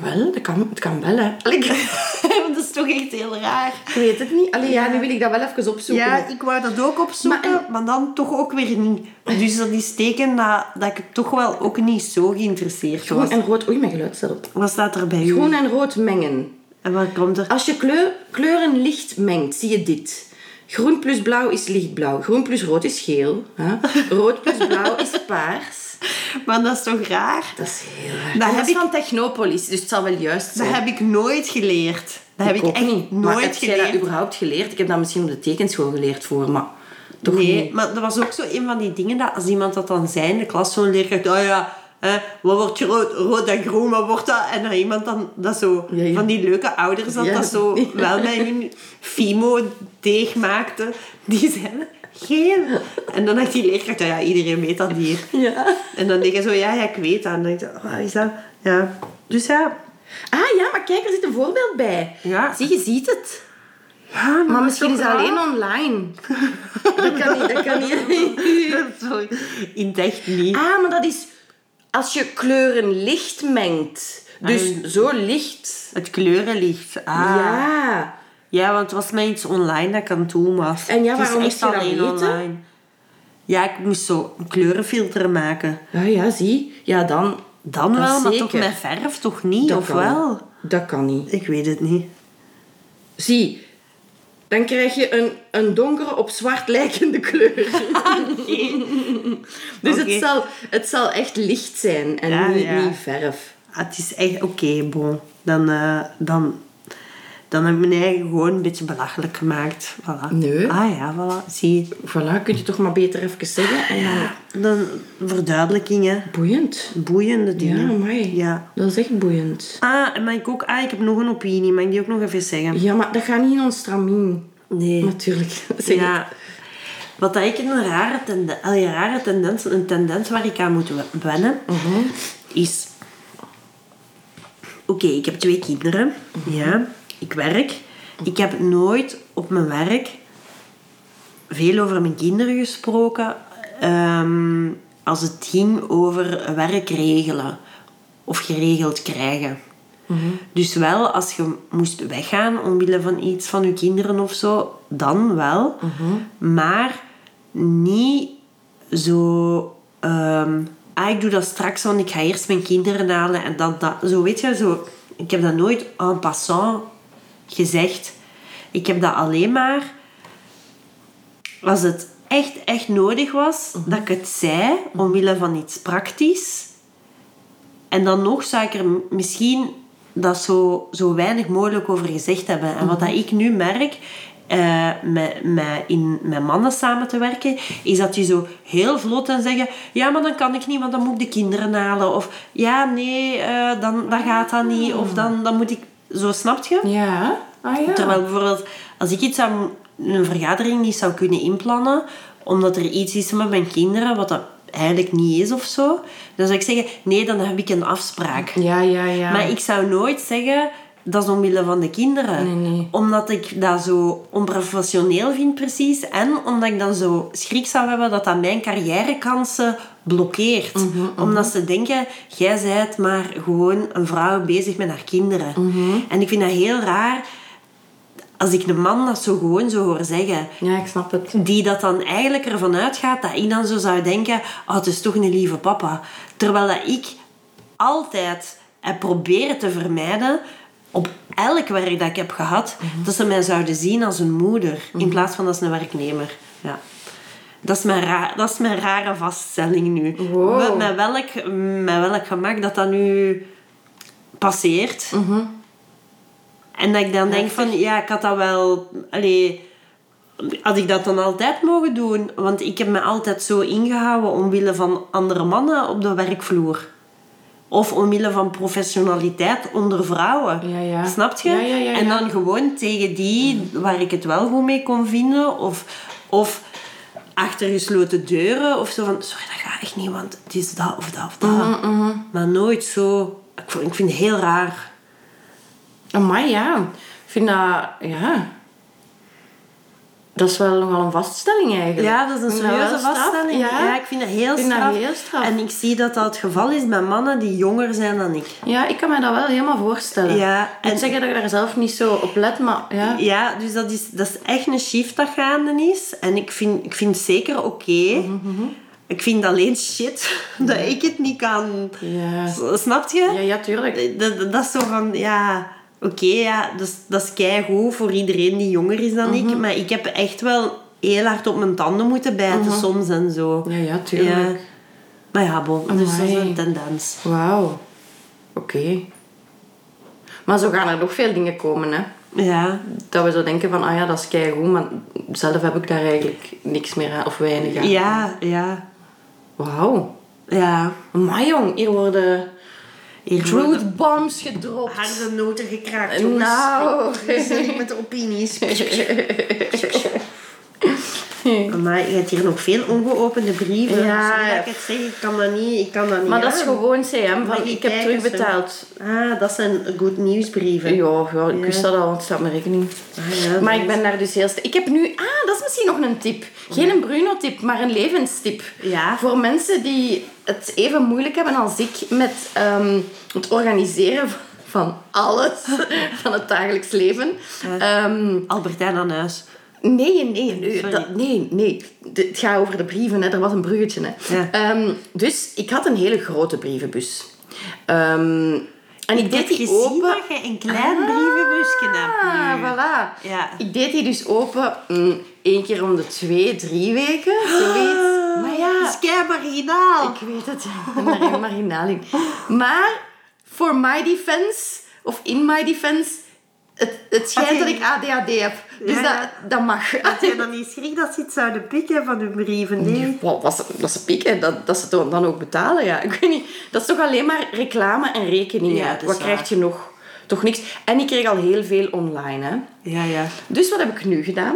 B: Wel, dat kan, het kan wel, hè? Allee, ik
A: Want dat is toch echt heel raar.
B: ik weet het niet. Allee, ja, nu wil ik dat wel even opzoeken.
A: Ja, ik wou dat ook opzoeken, maar,
B: Maar eh,
A: dan toch ook weer niet. Dus dat is teken dat, dat ik toch wel ook niet zo geïnteresseerd was.
B: Groen en rood... Oei, mijn geluid staat op.
A: Wat staat er bij u?
B: Groen en rood mengen.
A: En wat komt er?
B: Als je kleur, kleuren licht mengt, zie je dit. Groen plus blauw is lichtblauw. Groen plus rood is geel. Hè? Rood plus blauw is paars.
A: Maar dat is toch raar?
B: Dat is heel
A: Dat
B: raar. Dat,
A: heb
B: is
A: ik-
B: van Technopolis, dus het zal wel juist
A: Dat
B: zijn.
A: heb ik nooit geleerd. Dat heb ik,
B: ook
A: echt
B: niet. Maar
A: nooit
B: heb jij
A: geleerd.
B: dat überhaupt geleerd? Ik heb dat misschien op de tekenschool geleerd voor, maar toch
A: Nee,
B: niet.
A: maar dat was ook zo een van die dingen dat als iemand dat dan zei in de klas, zo'n leerkracht, oh ja, hè, wat wordt rood, rood en groen, wat wordt dat? En dan iemand dan dat zo,
B: Ja, ja.
A: van die leuke ouders, dat
B: Ja.
A: dat zo wel bij hun Fimo-deeg maakte, die zeiden geel. En dan dacht die leerkracht, oh ja, iedereen weet dat hier.
B: Ja.
A: En dan denk je zo, ja, ja, ik weet dat. En dan denk je, oh, is dat? Ja. Dus ja,
B: Ah ja, maar kijk, er zit een voorbeeld bij.
A: Ja.
B: Zie, je ziet het.
A: ja maar,
B: Maar misschien is
A: toch
B: het
A: raar.
B: alleen online. dat kan niet, dat kan niet.
A: Sorry. In het echt niet.
B: Ah, maar dat is als je kleuren licht mengt. Dus
A: Ah.
B: zo licht.
A: Het kleurenlicht. Ah. Ja.
B: Ja.
A: want het was mij iets online dat ik aan het doen was.
B: En ja,
A: Het is
B: waarom
A: echt
B: moest je dat
A: alleen
B: weten?
A: online. Ja, ik moest zo een kleurenfilter maken.
B: Ah ja, zie. Ja, dan.
A: Dan
B: Dat
A: wel, maar toch
B: zeker.
A: met verf toch niet,
B: dat
A: of
B: kan
A: wel?
B: niet. Dat kan niet.
A: Ik weet het niet.
B: Zie. Dan krijg je een, een donkere op zwart lijkende kleur. dus
A: Oké.
B: het, zal, het zal echt licht zijn en
A: Ja,
B: niet,
A: ja.
B: niet verf.
A: Ah, het is echt... Oké, bon. Dan, eh, dan, dan heb ik mijn eigen gewoon een beetje belachelijk gemaakt. Voilà.
B: Nee.
A: Ah ja, voilà. Zie
B: Voilà, kun je toch maar beter even zeggen. En dan...
A: je. Dan verduidelijkingen.
B: Boeiend.
A: Boeiende
B: Ja,
A: dingen.
B: amai.
A: Ja.
B: Dat is echt boeiend.
A: Ah, en mag ik ook... Ah, ik heb nog een opinie. Mag ik die ook nog even zeggen?
B: Ja, maar dat gaat niet in ons stramien.
A: Nee.
B: Natuurlijk. Zeg het.
A: Ja. Wat dat ik een rare, tende- allee, een rare tendens, een tendens waar ik aan moet we- wennen, is... Oké, ik heb twee kinderen. Ja, ik werk. Ik heb nooit op mijn werk veel over mijn kinderen gesproken. ehm, als het ging over werk regelen of geregeld krijgen. Dus wel als je moest weggaan omwille van iets van je kinderen of zo, dan wel. Maar niet zo. ehm, ah, ik doe dat straks, want ik ga eerst mijn kinderen halen en dan dat. Zo weet je, zo. Ik heb dat nooit en passant gezegd. Ik heb dat alleen maar als het echt, echt nodig was dat ik het zei omwille van iets praktisch. En dan nog zou ik er m- misschien dat zo, zo weinig mogelijk over gezegd hebben. En wat dat ik nu merk eh, met, met, in, met mannen samen te werken, is dat die zo heel vlot en zeggen: Ja, maar dan kan ik niet, want dan moet ik de kinderen halen. Of ja, nee, eh, dan, dan gaat dat niet. Of dan, dan moet ik. Zo snapt je?
B: Ja. Ah ja.
A: Terwijl bijvoorbeeld, als ik iets aan een vergadering niet zou kunnen inplannen, omdat er iets is met mijn kinderen, wat dat eigenlijk niet is of zo, dan zou ik zeggen, nee, dan heb ik een afspraak.
B: Ja, ja, ja.
A: Maar ik zou nooit zeggen, dat is omwille van de kinderen.
B: Nee, nee.
A: Omdat ik dat zo onprofessioneel vind, precies. En omdat ik dan zo schrik zou hebben dat dat mijn carrièrekansen blokkeert.
B: Mhm,
A: Omdat ze denken, jij bent maar gewoon een vrouw bezig met haar kinderen.
B: Mhm.
A: En ik vind dat heel raar als ik een man dat zo gewoon zo hoor zeggen
B: Ja, ik snap het.
A: die dat dan eigenlijk ervan uitgaat dat ik dan zo zou denken: oh, het is toch een lieve papa. Terwijl dat ik altijd heb proberen te vermijden op elk werk dat ik heb gehad, dat ze mij zouden zien als een moeder in plaats van als een werknemer. Ja. Dat is, mijn raar, dat is mijn rare vaststelling nu.
B: Wow.
A: Met, met welk, met welk gemak dat dat nu passeert. En dat ik dan denk van, ja, ik had dat wel... Allee, had ik dat dan altijd mogen doen? Want ik heb me altijd zo ingehouden omwille van andere mannen op de werkvloer. Of omwille van professionaliteit onder vrouwen.
B: Ja, ja.
A: Snap je?
B: Ja, ja, ja,
A: En
B: ja.
A: dan gewoon tegen die waar ik het wel goed mee kon vinden. Of, of achter gesloten deuren. Of zo van, sorry, dat gaat echt niet, want het is dat of dat of dat.
B: Mhm,
A: Maar nooit zo... Ik vond- ik vind het heel raar.
B: Amai, ja. Ik vind dat... Ja. Dat is wel nogal een vaststelling eigenlijk.
A: Ja, dat is een
B: Ik vind
A: serieuze
B: wel straf,
A: vaststelling. Ja.
B: Ja.
A: ik vind dat heel
B: Ik vind dat
A: straf.
B: heel straf.
A: En ik zie dat dat het geval is bij mannen die jonger zijn dan ik.
B: Ja, ik kan me dat wel helemaal voorstellen.
A: Ja,
B: en...
A: en-
B: Ik zeg dat ik daar zelf niet zo op let, maar ja.
A: Ja, dus dat is, dat is echt een shift dat gaande is. En ik vind, ik vind het zeker oké.
B: Mhm,
A: Ik vind alleen shit dat ik het niet kan.
B: Ja,
A: S- Snap je?
B: ja, ja tuurlijk.
A: Dat, dat- dat is zo van, ja... Oké, ja, dat is, dat is keigoed voor iedereen die jonger is dan
B: Mhm.
A: ik. Maar ik heb echt wel heel hard op mijn tanden moeten bijten soms en zo.
B: Mhm. Ja, ja, tuurlijk.
A: Ja. Maar ja, bon, dus dat is
B: Amai.
A: een tendens.
B: Wauw. Oké. Maar zo gaan er nog veel dingen komen, hè.
A: Ja,
B: Dat we zo denken van, ah ja, dat is keigoed, maar zelf heb ik daar eigenlijk niks meer aan, of weinig aan.
A: ja, ja.
B: Wauw.
A: ja.
B: Maar jong, hier worden
A: Hier worden
B: truth bombs gedropt.
A: harde noten gekraakt,
B: Nou.
A: Sorry met de opinies. Maar je hebt hier nog veel ongeopende brieven.
B: Ja.
A: Sorry dat ik het zeg, ik kan dat niet, ik kan dat niet
B: Maar dat is
A: aan.
B: gewoon CM,
A: Maar
B: van
A: die
B: ik heb
A: kijkers, hè.
B: terugbetaald.
A: Ah, dat zijn goed
B: Ja,
A: nieuwsbrieven.
B: ja, ik
A: Ja.
B: wist dat al, want het staat op mijn rekening.
A: Ah, ja,
B: maar
A: dat
B: ik ben daar dus heel... st- Ik heb nu... Ah, dat is misschien nog een tip. Geen een Bruno-tip, maar een levenstip.
A: Ja.
B: Voor mensen die het even moeilijk hebben als ik met ehm, het organiseren van- van alles. van het dagelijks leven. Ehm,
A: Albertijn aan huis.
B: Nee, nee, nee.
A: Sorry.
B: dat- nee, nee. De- het gaat over de brieven. Hè. Er was een bruggetje. Hè.
A: Ja.
B: Ehm, dus ik had een hele grote brievenbus. Ehm, en ik, deed die
A: gezien
B: open.
A: dat je een klein brievenbusje hebt.
B: Ah, voilà.
A: Ja.
B: Ik deed die dus open mm, één keer om de twee, drie weken.
A: Ah.
B: Zoiets. Maar ja,
A: Dat is kei marginaal.
B: ik weet het. Ik ben daar heel marginaal in. Maar, for my defense, of in my defense, het, het schijnt
A: Oké.
B: dat ik ADHD heb. Dus
A: Ja, ja.
B: Dat, dat mag.
A: Dat jij dan niet schrik dat ze iets zouden pikken van hun brieven. Nee.
B: Wat was, dat ze pikken, dat, dat ze dan dan ook betalen, ja. Ik weet niet, dat is toch alleen maar reclame en rekeningen.
A: Ja, dat is
B: Wat
A: waar.
B: krijg je nog? Toch niks. En ik kreeg al heel veel online, hè.
A: Ja, ja.
B: Dus wat heb ik nu gedaan?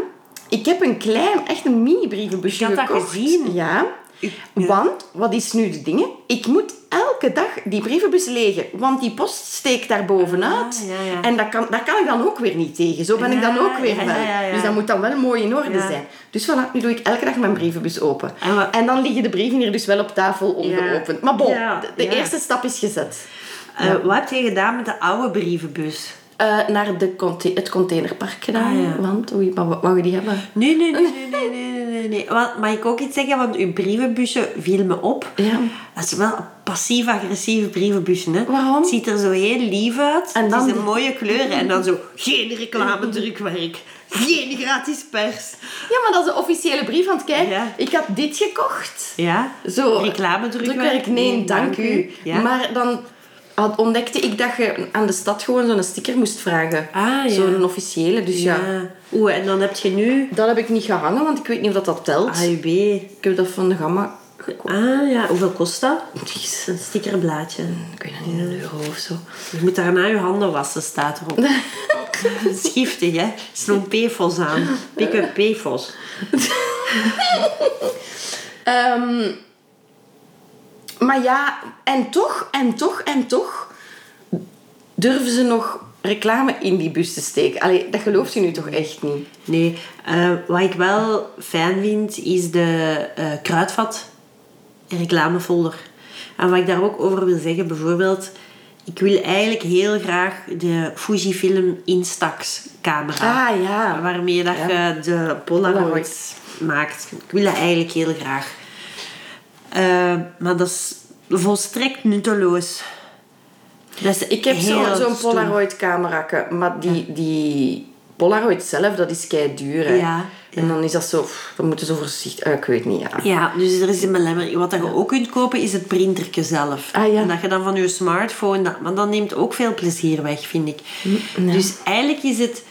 B: Ik heb een klein, echt een mini brievenbusje
A: Ik had dat
B: gekocht.
A: gezien.
B: Ja.
A: ja.
B: Want, wat is nu de dingen? Ik moet elke dag die brievenbus legen. Want die post steekt daar bovenuit.
A: Ah, ja, ja.
B: En dat kan, daar kan ik dan ook weer niet tegen. Zo ben ik dan
A: Ja,
B: ook weer
A: ja,
B: wel.
A: ja, ja.
B: Dus dat moet dan wel mooi in orde
A: Ja.
B: zijn. Dus voilà, nu doe ik elke dag mijn brievenbus open.
A: En wat-
B: dan liggen de brieven hier dus wel op tafel ongeopend. Maar bon,
A: Ja,
B: de, de
A: ja.
B: eerste stap is gezet.
A: Eh, wat heb jij gedaan met de oude brievenbus?
B: Eh, naar de conte- het containerpark gedaan.
A: Ah, ja.
B: Want, oei, maar wat wou je die hebben?
A: Nee, nee, nee, nee, nee, nee, nee, nee. Want, mag ik ook iets zeggen? Want uw brievenbusje viel me op.
B: Ja.
A: Dat is wel een passief-agressieve brievenbusje, hè?
B: Waarom?
A: Het ziet er zo heel lief uit.
B: En
A: En
B: dan
A: dan het is
B: die-
A: een mooie kleuren. En dan zo, geen reclame-drukwerk. Geen gratis pers.
B: Ja, maar dat is de officiële brief, want kijk,
A: Ja.
B: ik heb dit gekocht.
A: Ja?
B: Zo,
A: Reclamedrukwerk?
B: drukwerk, nee, dank u.
A: Ja.
B: Maar dan had, ontdekte ik dat je aan de stad gewoon zo'n sticker moest vragen.
A: Ah, ja.
B: Zo'n officiële, dus ja.
A: ja. Oeh, en dan heb je nu...
B: Dat heb ik niet gehangen, want ik weet niet of dat, dat telt.
A: AUB.
B: Ik heb dat van de gamma gekocht.
A: Ah ja, hoeveel kost dat?
B: Jezus,
A: Een stickerblaadje.
B: Ik weet dat niet, een euro of zo.
A: Je moet daarna je handen wassen, staat erop. Dat is giftig, hè? Sloom PFOS aan. Pick up PFOS.
B: Ehm, maar ja, en toch, en toch, en toch durven ze nog reclame in die bus te steken. Allee, dat gelooft u nu toch echt niet?
A: Nee, eh, wat ik wel fijn vind, is de eh kruidvat reclamefolder. En wat ik daar ook over wil zeggen, bijvoorbeeld... Ik wil eigenlijk heel graag de Fujifilm Instax camera.
B: Ah, ja.
A: Waarmee dat
B: Ja.
A: je de Polaroids
B: Polaroids.
A: maakt. Ik wil dat eigenlijk heel graag. Eh, maar dat is volstrekt nutteloos. Dat is
B: Ik heb zo-
A: heel
B: zo'n
A: stom.
B: Polaroid-camera, maar die, die Polaroid zelf, dat is kei duur. Hè.
A: Ja,
B: En dan is dat zo, pff, dan moeten ze voorzichtig, eh, ik weet niet, ja.
A: Ja, dus er is een belemmering. Wat dat je ook kunt kopen is het printertje zelf.
B: Ah, ja.
A: En dat je dan van je smartphone... Dat, maar dat neemt ook veel plezier weg, vind ik.
B: Mm,
A: Dus eigenlijk is het...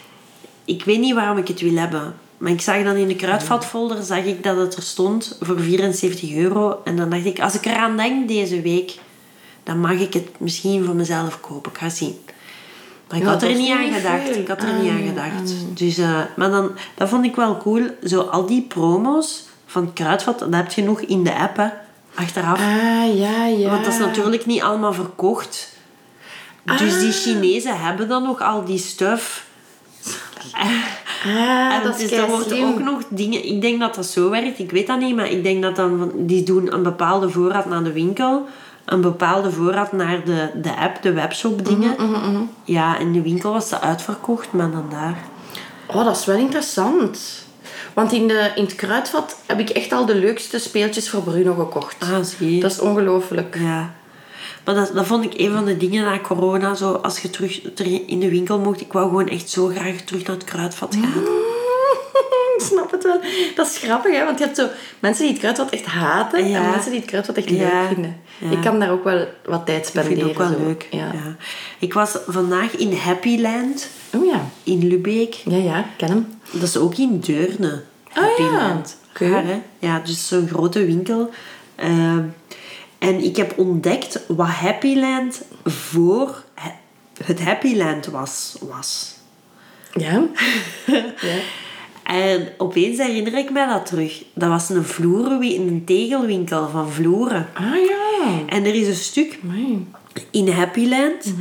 A: Ik weet niet waarom ik het wil hebben. Maar ik zag dan in de kruidvatfolder zag ik dat het er stond voor 74 euro. En dan dacht ik, als ik eraan denk deze week... Dan mag ik het misschien voor mezelf kopen. Ik ga zien. Maar ik
B: Ja,
A: had er
B: dat
A: niet
B: is
A: aan
B: niet
A: gedacht.
B: veel.
A: Ik had er
B: Ah,
A: niet aan
B: ja,
A: gedacht. Dus, eh, maar dan, dat vond ik wel cool. Zo al die promo's van het Kruidvat, dat heb je nog in de app, hè. Achteraf.
B: Ah, ja, ja.
A: Want dat is natuurlijk niet allemaal verkocht. Dus die Chinezen hebben dan nog al die stuff.
B: Ah,
A: en
B: dat is
A: dus er
B: kei
A: wordt
B: slim.
A: ook nog dingen... Ik denk dat dat zo werkt. Ik weet dat niet, maar ik denk dat dan... van- Die doen een bepaalde voorraad naar de winkel. Een bepaalde voorraad naar de, de app, de webshop dingen.
B: Mhm,
A: Ja, in de winkel was ze uitverkocht, maar dan daar...
B: Oh, dat is wel interessant. Want in, de, in het kruidvat heb ik echt al de leukste speeltjes voor Bruno gekocht.
A: Ah, zie je.
B: Dat is ongelooflijk.
A: Ja. Maar dat, dat vond ik een van de dingen na corona. Zo, als je terug ter- in de winkel mocht, ik wou gewoon echt zo graag terug naar het kruidvat gaan.
B: Ik snap het wel. Dat is grappig, hè? Want je hebt zo mensen die het kruidvat echt haten
A: Ja.
B: en mensen die het kruidvat echt
A: Ja.
B: leuk vinden.
A: Ja.
B: Ik kan daar ook wel wat tijd
A: Dat
B: spenderen.
A: vind ik ook wel
B: zo.
A: leuk.
B: Ja.
A: Ja. Ik was vandaag in Happyland
B: Oh ja.
A: in Lubeek.
B: Ja, ja, ik ken hem.
A: Dat is ook in Deurne.
B: Ah,
A: Happyland.
B: ja. Oké.
A: Raar, hè? Ja, dus zo'n grote winkel. Ehm, en ik heb ontdekt wat Happyland voor he- het Happyland was. was.
B: Ja. ja.
A: En opeens herinner ik mij dat terug. Dat was een, vloerenwi- een tegelwinkel van vloeren.
B: Ah ja.
A: En er is een stuk
B: Amai.
A: in Happyland...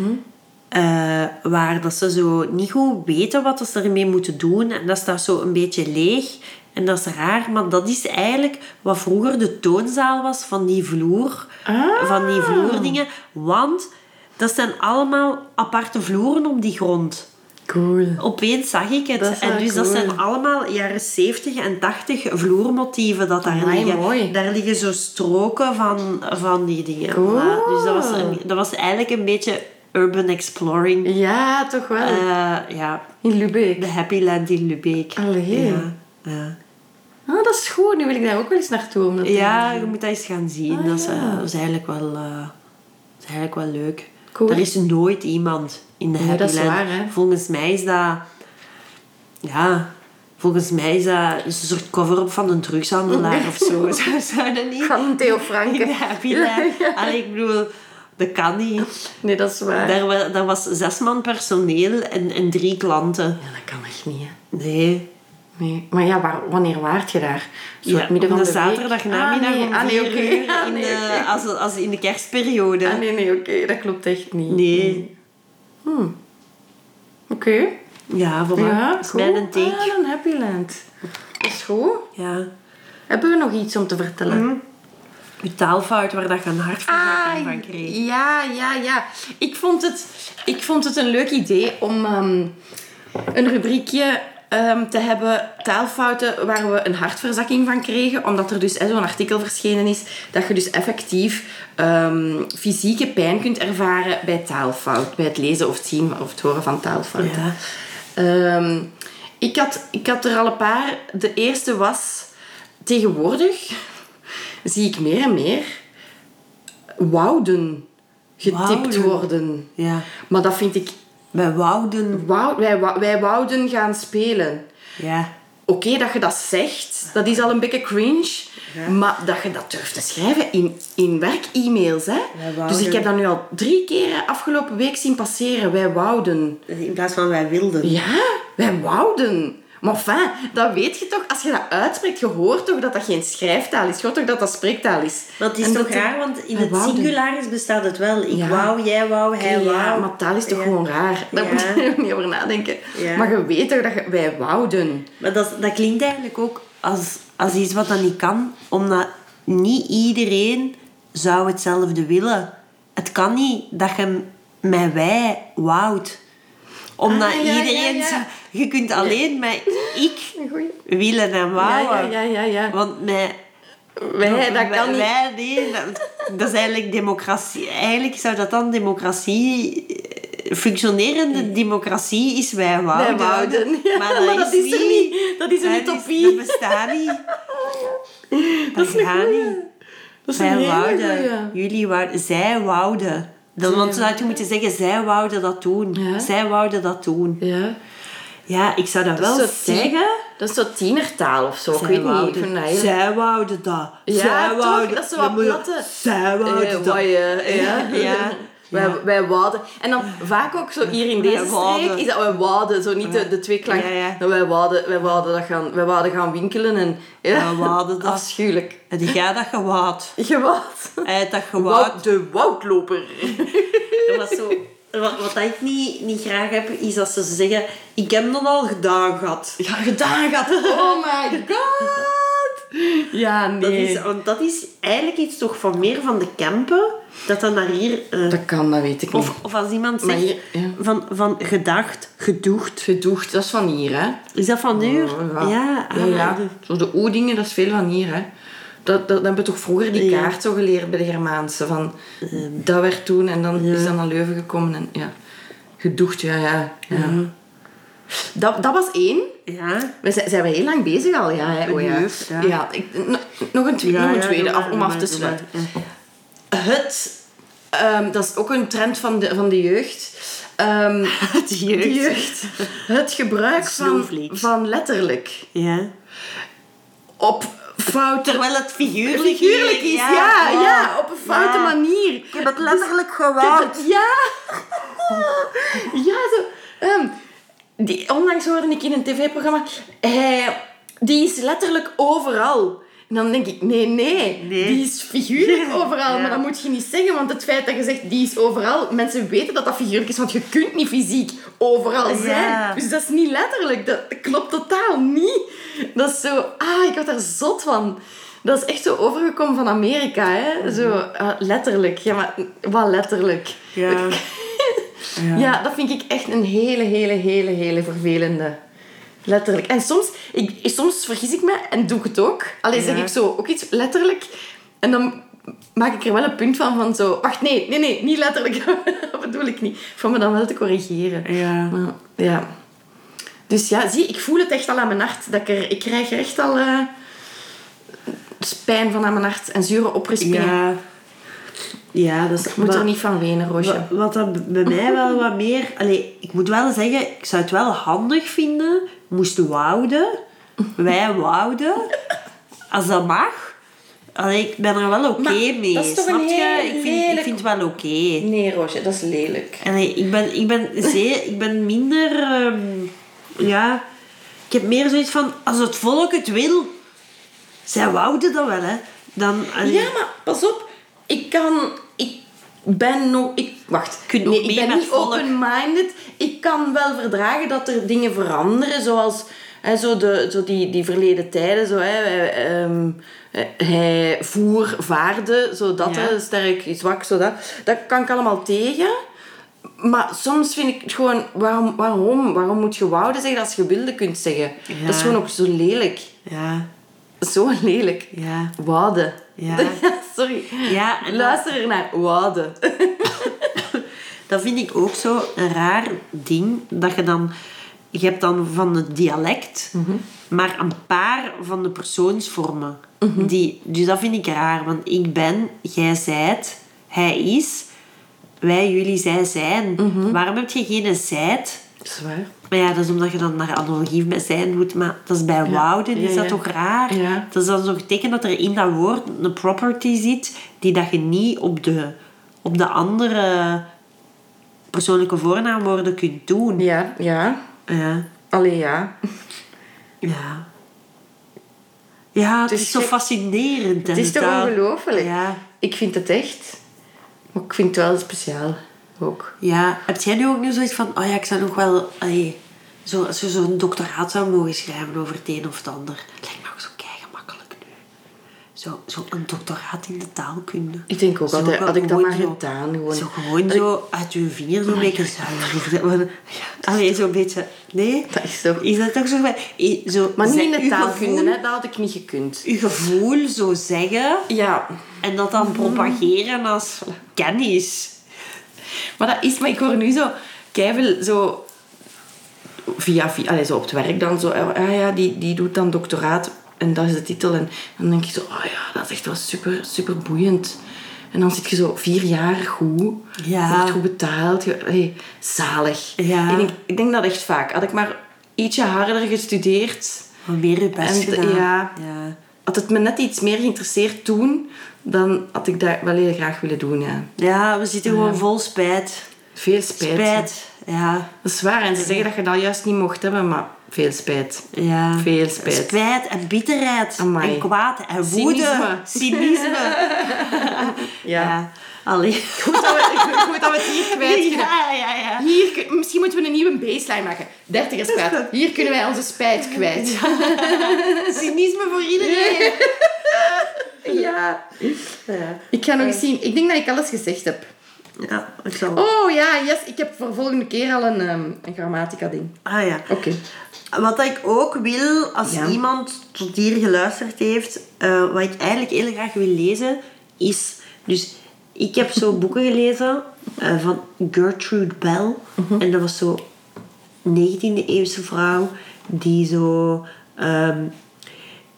A: eh, waar dat ze zo niet goed weten wat dat ze ermee moeten doen. En dat staat zo een beetje leeg. En dat is raar. Maar dat is eigenlijk wat vroeger de toonzaal was van die vloer.
B: Ah.
A: Van die vloerdingen. Want dat zijn allemaal aparte vloeren op die grond
B: Cool.
A: opeens zag ik het.
B: Dat is wel
A: en dus dat
B: cool.
A: zijn allemaal jaren 70 en 80 vloermotieven dat daar
B: Amai,
A: liggen.
B: mooi.
A: Daar liggen zo stroken van, van die dingen.
B: Cool.
A: Maar- dus dat was, een- dat was eigenlijk een beetje urban exploring.
B: Ja, toch wel.
A: Eh, ja,
B: in Lubeek.
A: de Happy Land in Lubeek.
B: Allee.
A: Ja, ja.
B: Ah, dat is goed. Nu wil ik daar ook wel eens naartoe. Omdat
A: ja, je moet dat eens gaan zien.
B: Ah,
A: dat, is, eh,
B: ja.
A: dat is eigenlijk wel, eh, dat is eigenlijk wel leuk.
B: Cool.
A: Er is nooit iemand in de
B: Nee,
A: Happy
B: dat is
A: Land.
B: waar, hè.
A: Volgens mij is dat... Ja, volgens mij is dat dus een soort cover-up van een drugshandelaar of zo. Zou- Zou dat niet?
B: Van Theo
A: In de
B: Franken.
A: Happy Land. Allee, ik bedoel, dat kan niet.
B: Nee, dat is waar.
A: Daar, wa- daar was zes man personeel en, en drie klanten.
B: Ja, dat kan echt niet, hè.
A: Nee.
B: Nee. Maar ja, waar, wanneer waart je daar? Zo
A: Ja,
B: het midden van
A: op
B: de
A: een zaterdagmiddag
B: week? Ah, nee.
A: om
B: Ah, nee,
A: vier
B: oké.
A: uur in eh,
B: Ah, nee,
A: de-
B: oké.
A: als, als in de kerstperiode.
B: Ah, nee, nee, oké. Dat klopt echt niet. Hmm.
A: Nee.
B: Oké.
A: Ja, voilà.
B: Ja,
A: Dat is mijn
B: goed.
A: take.
B: Ah, dan Happyland. Dat is goed.
A: Ja.
B: Hebben we nog iets om te vertellen?
A: Je taalfout waar dat je een hart van zak en van kreeg.
B: Ah, ja, ja, ja. Ik vond het, ik vond het een leuk idee om ehm, een rubriekje ehm, te hebben, taalfouten, waar we een hartverzakking van kregen. Omdat er dus hè, zo'n artikel verschenen is dat je dus effectief ehm, fysieke pijn kunt ervaren bij taalfout. Bij het lezen of het zien of het horen van taalfouten.
A: Ja.
B: Ehm, ik, had, ik had er al een paar. De eerste was... Tegenwoordig zie ik meer en meer wouden getipt
A: Wouden.
B: worden.
A: Ja.
B: Maar dat vind ik...
A: Bij Wouden.
B: Wou, wij, wou- wij wouden gaan spelen.
A: Ja.
B: Oké, dat je dat zegt, dat is al een beetje cringe. Maar dat je dat durft te schrijven in, in werk-e-mails, hè.
A: wouden.
B: dus ik heb dat nu al drie keer afgelopen week zien passeren. Wij wouden.
A: In plaats van wij wilden.
B: Ja, wij wouden. Maar fijn, dat weet je toch. Als je dat uitspreekt, je hoort toch dat dat geen schrijftaal is. Je hoort toch dat dat spreektaal is.
A: Dat is
B: En
A: toch
B: dat-
A: raar, want in
B: Hij
A: het
B: wou dat.
A: singularis bestaat het wel. Ik
B: Ja.
A: wou, jij wou, hij
B: Ja,
A: wou.
B: maar taal is toch
A: Ja.
B: gewoon raar. Daar
A: Ja.
B: moet je niet over nadenken.
A: Ja.
B: Maar je weet toch dat je- wij wouden.
A: Maar dat, dat klinkt eigenlijk ook als, als iets wat dan niet kan. Omdat niet iedereen zou hetzelfde willen. Het kan niet dat je met wij wouwt. Omdat
B: Ah, ja, ja,
A: iedereen...
B: ja.
A: zou- Je kunt alleen met ik
B: Goeie.
A: willen en
B: Ja, ja,
A: wouwen.
B: ja, ja. ja.
A: Want met...
B: Wij, dat kan niet.
A: Wij, nee. Dat, dat is eigenlijk democratie. Eigenlijk zou dat dan democratie... eh, Functionerende democratie is wij wouden.
B: Wij wouden. Ja,
A: Maar dat, is,
B: er niet. Dat is een
A: Dat
B: utopie.
A: dat bestaat niet. Dat,
B: Dat is een
A: gaat
B: goeie.
A: niet.
B: Dat is een
A: Wij
B: hele
A: wouden.
B: goeie.
A: Jullie wouden. Zij wouden. Dan, want dan had je moeten zeggen, zij wouden dat doen.
B: Ja.
A: Zij wouden dat doen.
B: Ja.
A: Ja, ik zou dat,
B: Dat
A: wel
B: is zo tien-
A: zeggen.
B: Dat is zo tienertaal of zo. ik
A: Zij
B: weet niet. Ik
A: wouden.
B: vind dat heel...
A: Zij wouden dat.
B: Ja,
A: zij
B: toch?
A: wouden.
B: Dat is zo
A: Dan
B: wat
A: moet je-
B: platte.
A: Zij wouden
B: Eh,
A: dat.
B: wou je, ja.
A: Ja, ja.
B: Wij, wij wouden. En dan vaak ook zo hier in deze
A: Wij wouden.
B: streek is dat wij wouden. Zo niet de, de twee klanken.
A: Ja, ja.
B: Dat wij wouden, wij wouden dat gaan, wij wouden gaan winkelen. En, ja.
A: Wij wouden dat.
B: Afschuwelijk.
A: En jij dat gewouwd.
B: Geweld.
A: Hij had dat gewouwd.
B: Woud, de woudloper.
A: Er was zo, wat, wat ik niet, niet graag heb, is dat ze zeggen... Ik heb dat al gedaan gehad.
B: Ja, gedaan gaat. Oh my god. Ja,
A: Dat
B: nee.
A: is, want dat is eigenlijk iets toch van meer van de kampen, dat dan naar hier... eh,
B: Dat kan, dat weet ik niet.
A: of, of als iemand
B: Maar
A: zegt
B: hier, ja.
A: van, van gedacht, gedoegd.
B: Gedoegd, dat is van hier, hè.
A: Is dat van nu?
B: Oh, Ja,
A: Oh, ja.
B: ja,
A: ah,
B: ja. Zo de O-dingen, dat is veel van hier, hè. Dat, dat, dat hebben we toch vroeger die
A: Ja.
B: kaart zo geleerd bij de Germaanse. Van, dat werd toen en dan is dat naar Leuven gekomen. En, ja. Gedoegd, ja, ja. ja. Dat, dat was één.
A: Ja.
B: We zijn, zijn we heel lang bezig al, ja. Hè? Oh, ja.
A: Benieuwd, ja.
B: ik- no- nog een, twee,
A: Ja,
B: nog een
A: ja,
B: tweede,
A: doe
B: af-
A: maar,
B: om
A: doe
B: af
A: maar,
B: te
A: doe maar.
B: sluiten. Het, ehm, dat is ook een trend van de, van de jeugd. Ehm,
A: Het jeugd.
B: de jeugd. Het gebruik van,
A: Snowflakes.
B: van letterlijk
A: Ja.
B: op foute
A: Terwijl het figuurlijk,
B: figuurlijk is. Ja, ja, op een foute
A: Ja.
B: manier.
A: Ik heb het letterlijk gewouwd.
B: Ja. ja, zo. ehm, die, onlangs hoorde ik in een tv-programma... Hij, die is letterlijk overal. En dan denk ik, nee, nee.
A: Nee.
B: Die is figuurlijk
A: Ja,
B: overal.
A: ja.
B: Maar dat moet je niet zeggen, want het feit dat je zegt, die is overal... Mensen weten dat dat figuurlijk is, want je kunt niet fysiek overal
A: Ja.
B: zijn. Dus dat is niet letterlijk. Dat klopt totaal niet. Dat is zo... Ah, ik word daar zot van. Dat is echt zo overgekomen van Amerika, hè. Zo,
A: Mhm.
B: ah, letterlijk. Ja, maar wat letterlijk.
A: Ja.
B: Ja. dat vind ik echt een hele, hele, hele, hele vervelende. Letterlijk. En soms, ik, soms vergis ik me en doe ik het ook. Alleen zeg
A: Ja.
B: ik zo ook iets letterlijk. En dan maak ik er wel een punt van, van zo... Wacht, nee, nee, nee, niet letterlijk. dat bedoel ik niet. Voor me dan wel te corrigeren.
A: Ja.
B: Maar, ja. Dus ja, zie, ik voel het echt al aan mijn hart. Dat ik, er, ik krijg er echt al eh, pijn van aan mijn hart. En zure oprispingen.
A: Ja. Ja, dat is...
B: Ik moet er niet van wenen, Roosje.
A: Wa- Wat dat bij mij wel wat meer... Allee, ik moet wel zeggen, ik zou het wel handig vinden. Moesten wouden. Wij wouden. Als dat mag. Allee, ik ben er wel oké
B: Maar
A: mee.
B: dat is toch
A: snap
B: een
A: je?
B: heel
A: ik, vind, ik
B: lelijk-
A: vind het wel oké.
B: Nee, Roosje, dat is lelijk.
A: Allee, ik ben, ik ben, zeer, ik ben minder... ehm, ja... Ik heb meer zoiets van, als het volk het wil... Zij wouden dat wel, hè. Dan, allee,
B: Ja, maar pas op. Ik kan... Ik ben nog... Ik, wacht.
A: kunt
B: nee,
A: ook mee
B: ik ben
A: met
B: niet
A: volk.
B: open-minded. Ik kan wel verdragen dat er dingen veranderen. Zoals hè, zo de, zo die, die verleden tijden. Zo, hè, eh, ehm, eh, hij voer, vaarde. Zo dat,
A: Ja.
B: hè, sterk, zwak, zo dat. Dat kan ik allemaal tegen. Maar soms vind ik het gewoon... Waarom, waarom, waarom moet je wouden zeggen als je wilde kunt zeggen?
A: Ja.
B: Dat is gewoon ook zo lelijk.
A: Ja,
B: Zo lelijk.
A: ja.
B: Waden.
A: Ja.
B: Sorry.
A: Ja, en-
B: Luister naar waden.
A: Dat vind ik ook zo een raar ding. Dat je dan... Je hebt dan van het dialect,
B: Mhm.
A: maar een paar van de persoonsvormen.
B: Mhm.
A: die, dus dat vind ik raar. Want ik ben, jij zijt, hij is, wij, jullie, zij zijn.
B: Mhm.
A: Waarom heb je geen zijt?
B: Zwaar.
A: Maar ja, dat is omdat je dan naar analogie met zijn moet. Maar dat is bij wouden, is
B: ja,
A: dat
B: ja.
A: toch raar?
B: Ja.
A: Dat is dan zo'n teken dat er in dat woord een property zit die dat je niet op de, op de andere persoonlijke voornaamwoorden kunt doen.
B: Ja, ja.
A: Ja.
B: Allee, ja.
A: Ja. Ja, het
B: Dus
A: is, zo
B: je-
A: fascinerend.
B: Het is toch
A: inderdaad.
B: ongelooflijk?
A: Ja.
B: Ik vind het echt. Maar ik vind het wel speciaal ook.
A: ja. Heb jij nu ook nu zoiets van... Oh ja, ik zou nog wel... Allee, zo, als je zo'n doctoraat zou mogen schrijven over het een of het ander. Het lijkt me ook zo gemakkelijk nu. Zo, zo een doctoraat in de taalkunde.
B: Ik denk ook
A: Zo
B: altijd, had ik dat maar
A: gewoon zo-
B: gedaan. Gewoon. Oh
A: Zo gewoon zo uit je vinger zo'n beetje zuiver. Allee, zo'n beetje... Nee?
B: Dat is toch-
A: Is dat toch zo... van- i- zo
B: Maar niet in
A: zeg-
B: de
A: uw
B: taalkunde,
A: gevoel-
B: hè? dat had ik niet gekund.
A: Uw gevoel zo zeggen...
B: Ja,
A: En dat
B: Mm.
A: dan propageren als kennis.
B: maar dat is, maar ik hoor nu zo keiveel zo via, via allee, zo op het werk dan zo, ah ja, die, die doet dan doctoraat en dat is de titel. En dan denk ik zo, oh ja, dat is echt wel super, super boeiend. En dan zit je zo vier jaar goed,
A: Ja.
B: je wordt goed betaald, je, allee, zalig.
A: Ja.
B: Ik, denk, ik denk dat echt vaak. Had ik maar ietsje harder gestudeerd,
A: Maar meer je best
B: En-
A: gedaan.
B: ja.
A: ja.
B: had het me net iets meer geïnteresseerd toen, dan had ik dat wel heel graag willen doen. Ja.
A: Ja, we zitten gewoon vol spijt.
B: Veel spijt.
A: Spijt. Ja.
B: Dat is waar. En ze zeggen dat je dat juist niet mocht hebben, maar veel spijt.
A: ja.
B: Veel spijt.
A: en bitterheid.
B: Amai.
A: En kwaad. En woede.
B: Cynisme.
A: Cynisme.
B: Ja.
A: ja. Allee.
B: Goed, dat we, goed dat we het hier kwijt kunnen.
A: Ja, ja, ja.
B: Hier, kun- misschien moeten we een nieuwe baseline maken. 30 is kwijt. Hier kunnen wij onze spijt kwijt.
A: Cynisme voor iedereen.
B: Ja.
A: Ja.
B: Ik ga nog eens zien. Ik denk dat ik alles gezegd heb.
A: Ja, ik zal...
B: Oh ja, yes. Ik heb voor volgende keer al een, ehm, een grammatica ding.
A: Ah ja.
B: Oké.
A: Wat ik ook wil, als
B: Ja.
A: iemand tot hier geluisterd heeft, eh, wat ik eigenlijk heel graag wil lezen, is... Dus ik heb zo boeken gelezen eh, van Gertrude Bell.
B: Mhm.
A: En dat was zo 19e eeuwse vrouw die zo... ehm,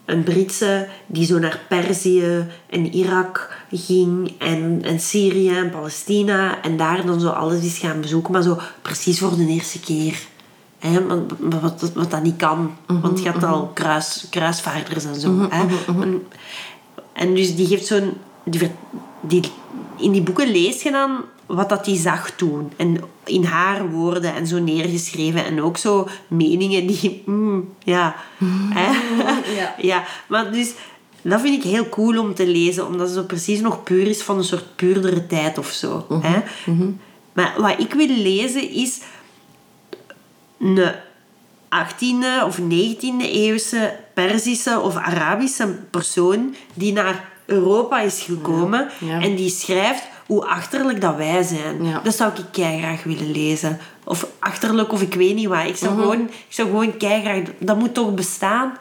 A: een Britse die zo naar Perzië en Irak ging en, en Syrië en Palestina en daar dan zo alles is gaan bezoeken, maar zo precies voor de eerste keer. Hè, want- wat, wat, wat dat niet kan, want je had al kruis, kruisvaarders en zo. hè. En, en dus die geeft zo'n... Die, ver- die, in die boeken lees je dan wat dat die zag toen. En in haar woorden en zo neergeschreven. En ook zo meningen die... mm, ja. hè.
B: Ja.
A: Ja, maar dus dat vind ik heel cool om te lezen, omdat het zo precies nog puur is van een soort puurdere tijd of zo. hè?
B: Mhm,
A: Maar wat ik wil lezen is een 18e of 19e eeuwse Perzische of Arabische persoon die naar Europa is gekomen
B: ja.
A: en die schrijft hoe achterlijk dat wij zijn.
B: Ja.
A: Dat zou ik graag willen lezen. Of achterlijk of ik weet niet wat. Ik zou
B: Mhm.
A: gewoon, ik zou gewoon keigraag... Dat moet toch bestaan?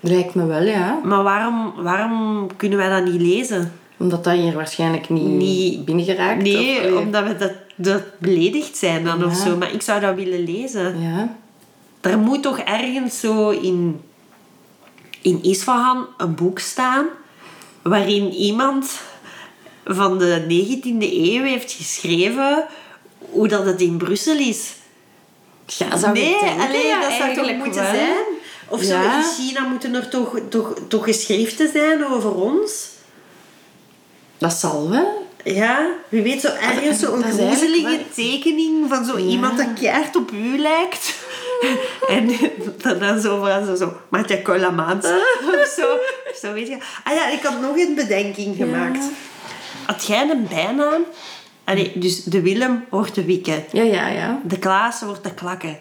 B: Lijkt me wel, ja.
A: Maar waarom, waarom kunnen wij dat niet lezen?
B: Omdat dat hier waarschijnlijk niet,
A: Niet-
B: Hmm, binnengeraakt.
A: Nee,
B: of, eh,
A: omdat we dat, dat beledigd zijn dan of
B: Ja.
A: zo. Maar ik zou dat willen lezen.
B: Ja.
A: Er moet toch ergens zo in, in Isfahan een boek staan waarin iemand van de 19e eeuw heeft geschreven hoe dat het in Brussel is.
B: Ja, zou
A: nee,
B: ik denken.
A: allee,
B: ja,
A: dat zou toch
B: eigenlijk
A: moeten
B: wel.
A: zijn? Of zo,
B: Ja.
A: in China moeten er toch, toch, toch geschriften zijn over ons?
B: Dat zal wel.
A: Ja, wie weet zo ergens zo'n
B: Dat is eigenlijk
A: groezelige
B: wel-
A: tekening van zo iemand dat keihard op u lijkt. en dan, dan zo van zo, zo Matja Collamans of zo. Zo weet je. Ah ja, ik had nog een bedenking gemaakt. Had jij een bijnaam? Allee, dus de Willem wordt de Wikke.
B: Ja, ja, ja.
A: De Klaas wordt de Klakke.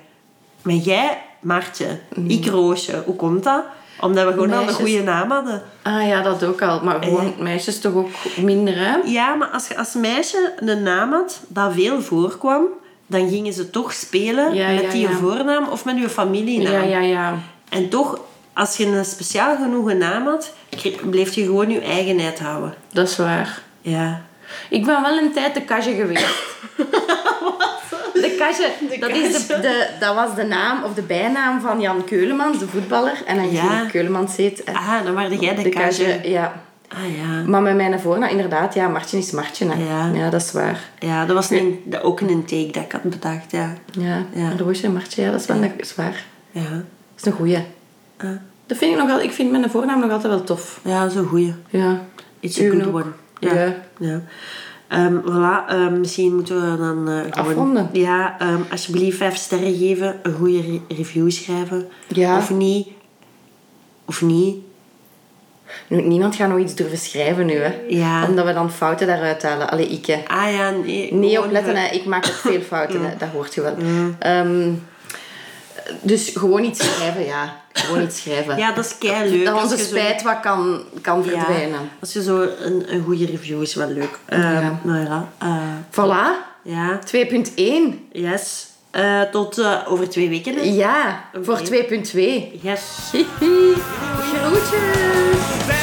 A: Maar jij, Martje. Ik, Roosje. Hoe komt dat? Omdat we gewoon al een
B: Meisjes.
A: goede naam hadden.
B: Ah ja, dat ook al. Maar gewoon meisjes toch ook minder, hè?
A: Ja, maar als je als meisje een naam had dat veel voorkwam, dan gingen ze toch spelen
B: Ja,
A: met
B: ja,
A: die
B: ja.
A: voornaam of met je familienaam.
B: Ja, ja, ja.
A: En toch, als je een speciaal genoegen naam had, kre- bleef je gewoon je eigenheid houden.
B: Dat is waar.
A: Ja.
B: Ik ben wel een tijd de kasje geweest. De kasje, dat, is de, de- dat was de naam of de bijnaam van Jan Keulemans, de voetballer. En hij
A: Ja.
B: ging op Keulemans heet. En
A: Ah, dan waren jij de,
B: de
A: kastje.
B: kasje, ja.
A: Ah ja.
B: Maar met mijn voornaam, inderdaad, ja, Martje is Martje. Hè.
A: Ja.
B: dat is waar.
A: Ja, dat was een, dat- ook een take dat ik had bedacht, ja.
B: Ja,
A: Ja.
B: Roosje en Martje, ja, dat is wel dat is waar.
A: Ja,
B: Dat is een goeie.
A: Ah.
B: Dat vind ik nog wel, ik vind mijn voornaam nog altijd wel tof.
A: ja dat is een goeie.
B: Ja.
A: It's a
B: Uw
A: good
B: ook.
A: one.
B: Ja.
A: Ja. ja. Ehm, voilà, ehm, misschien moeten we dan... eh, gewoon-
B: Afronden.
A: Ja, ehm, alsjeblieft vijf sterren geven, een goede re- review schrijven.
B: Ja.
A: Of niet. Of niet?
B: Nu, niemand gaat nog iets durven schrijven nu, hè.
A: Ja.
B: Omdat we dan fouten daaruit halen. Allee, ik, hè.
A: Ah ja, nee.
B: Nee,
A: gewoon eh, Mm.
B: opletten,
A: ver-
B: hè. Ik maak ook veel fouten, hè. Dat hoort je wel. Ehm, dus gewoon iets schrijven, ja. Gewoon iets schrijven.
A: Ja, dat is kei leuk.
B: dat onze spijt wat kan, kan verdwijnen.
A: als je zo een, een goede review is, wel leuk. Eh,
B: Ja.
A: Nou ja, eh,
B: Voilà.
A: ja,
B: 2.1.
A: yes. Eh, tot eh, over twee weken. hè.
B: Ja, voor
A: Oké.
B: 2.2.
A: Yes.
B: Hihi. Groetjes.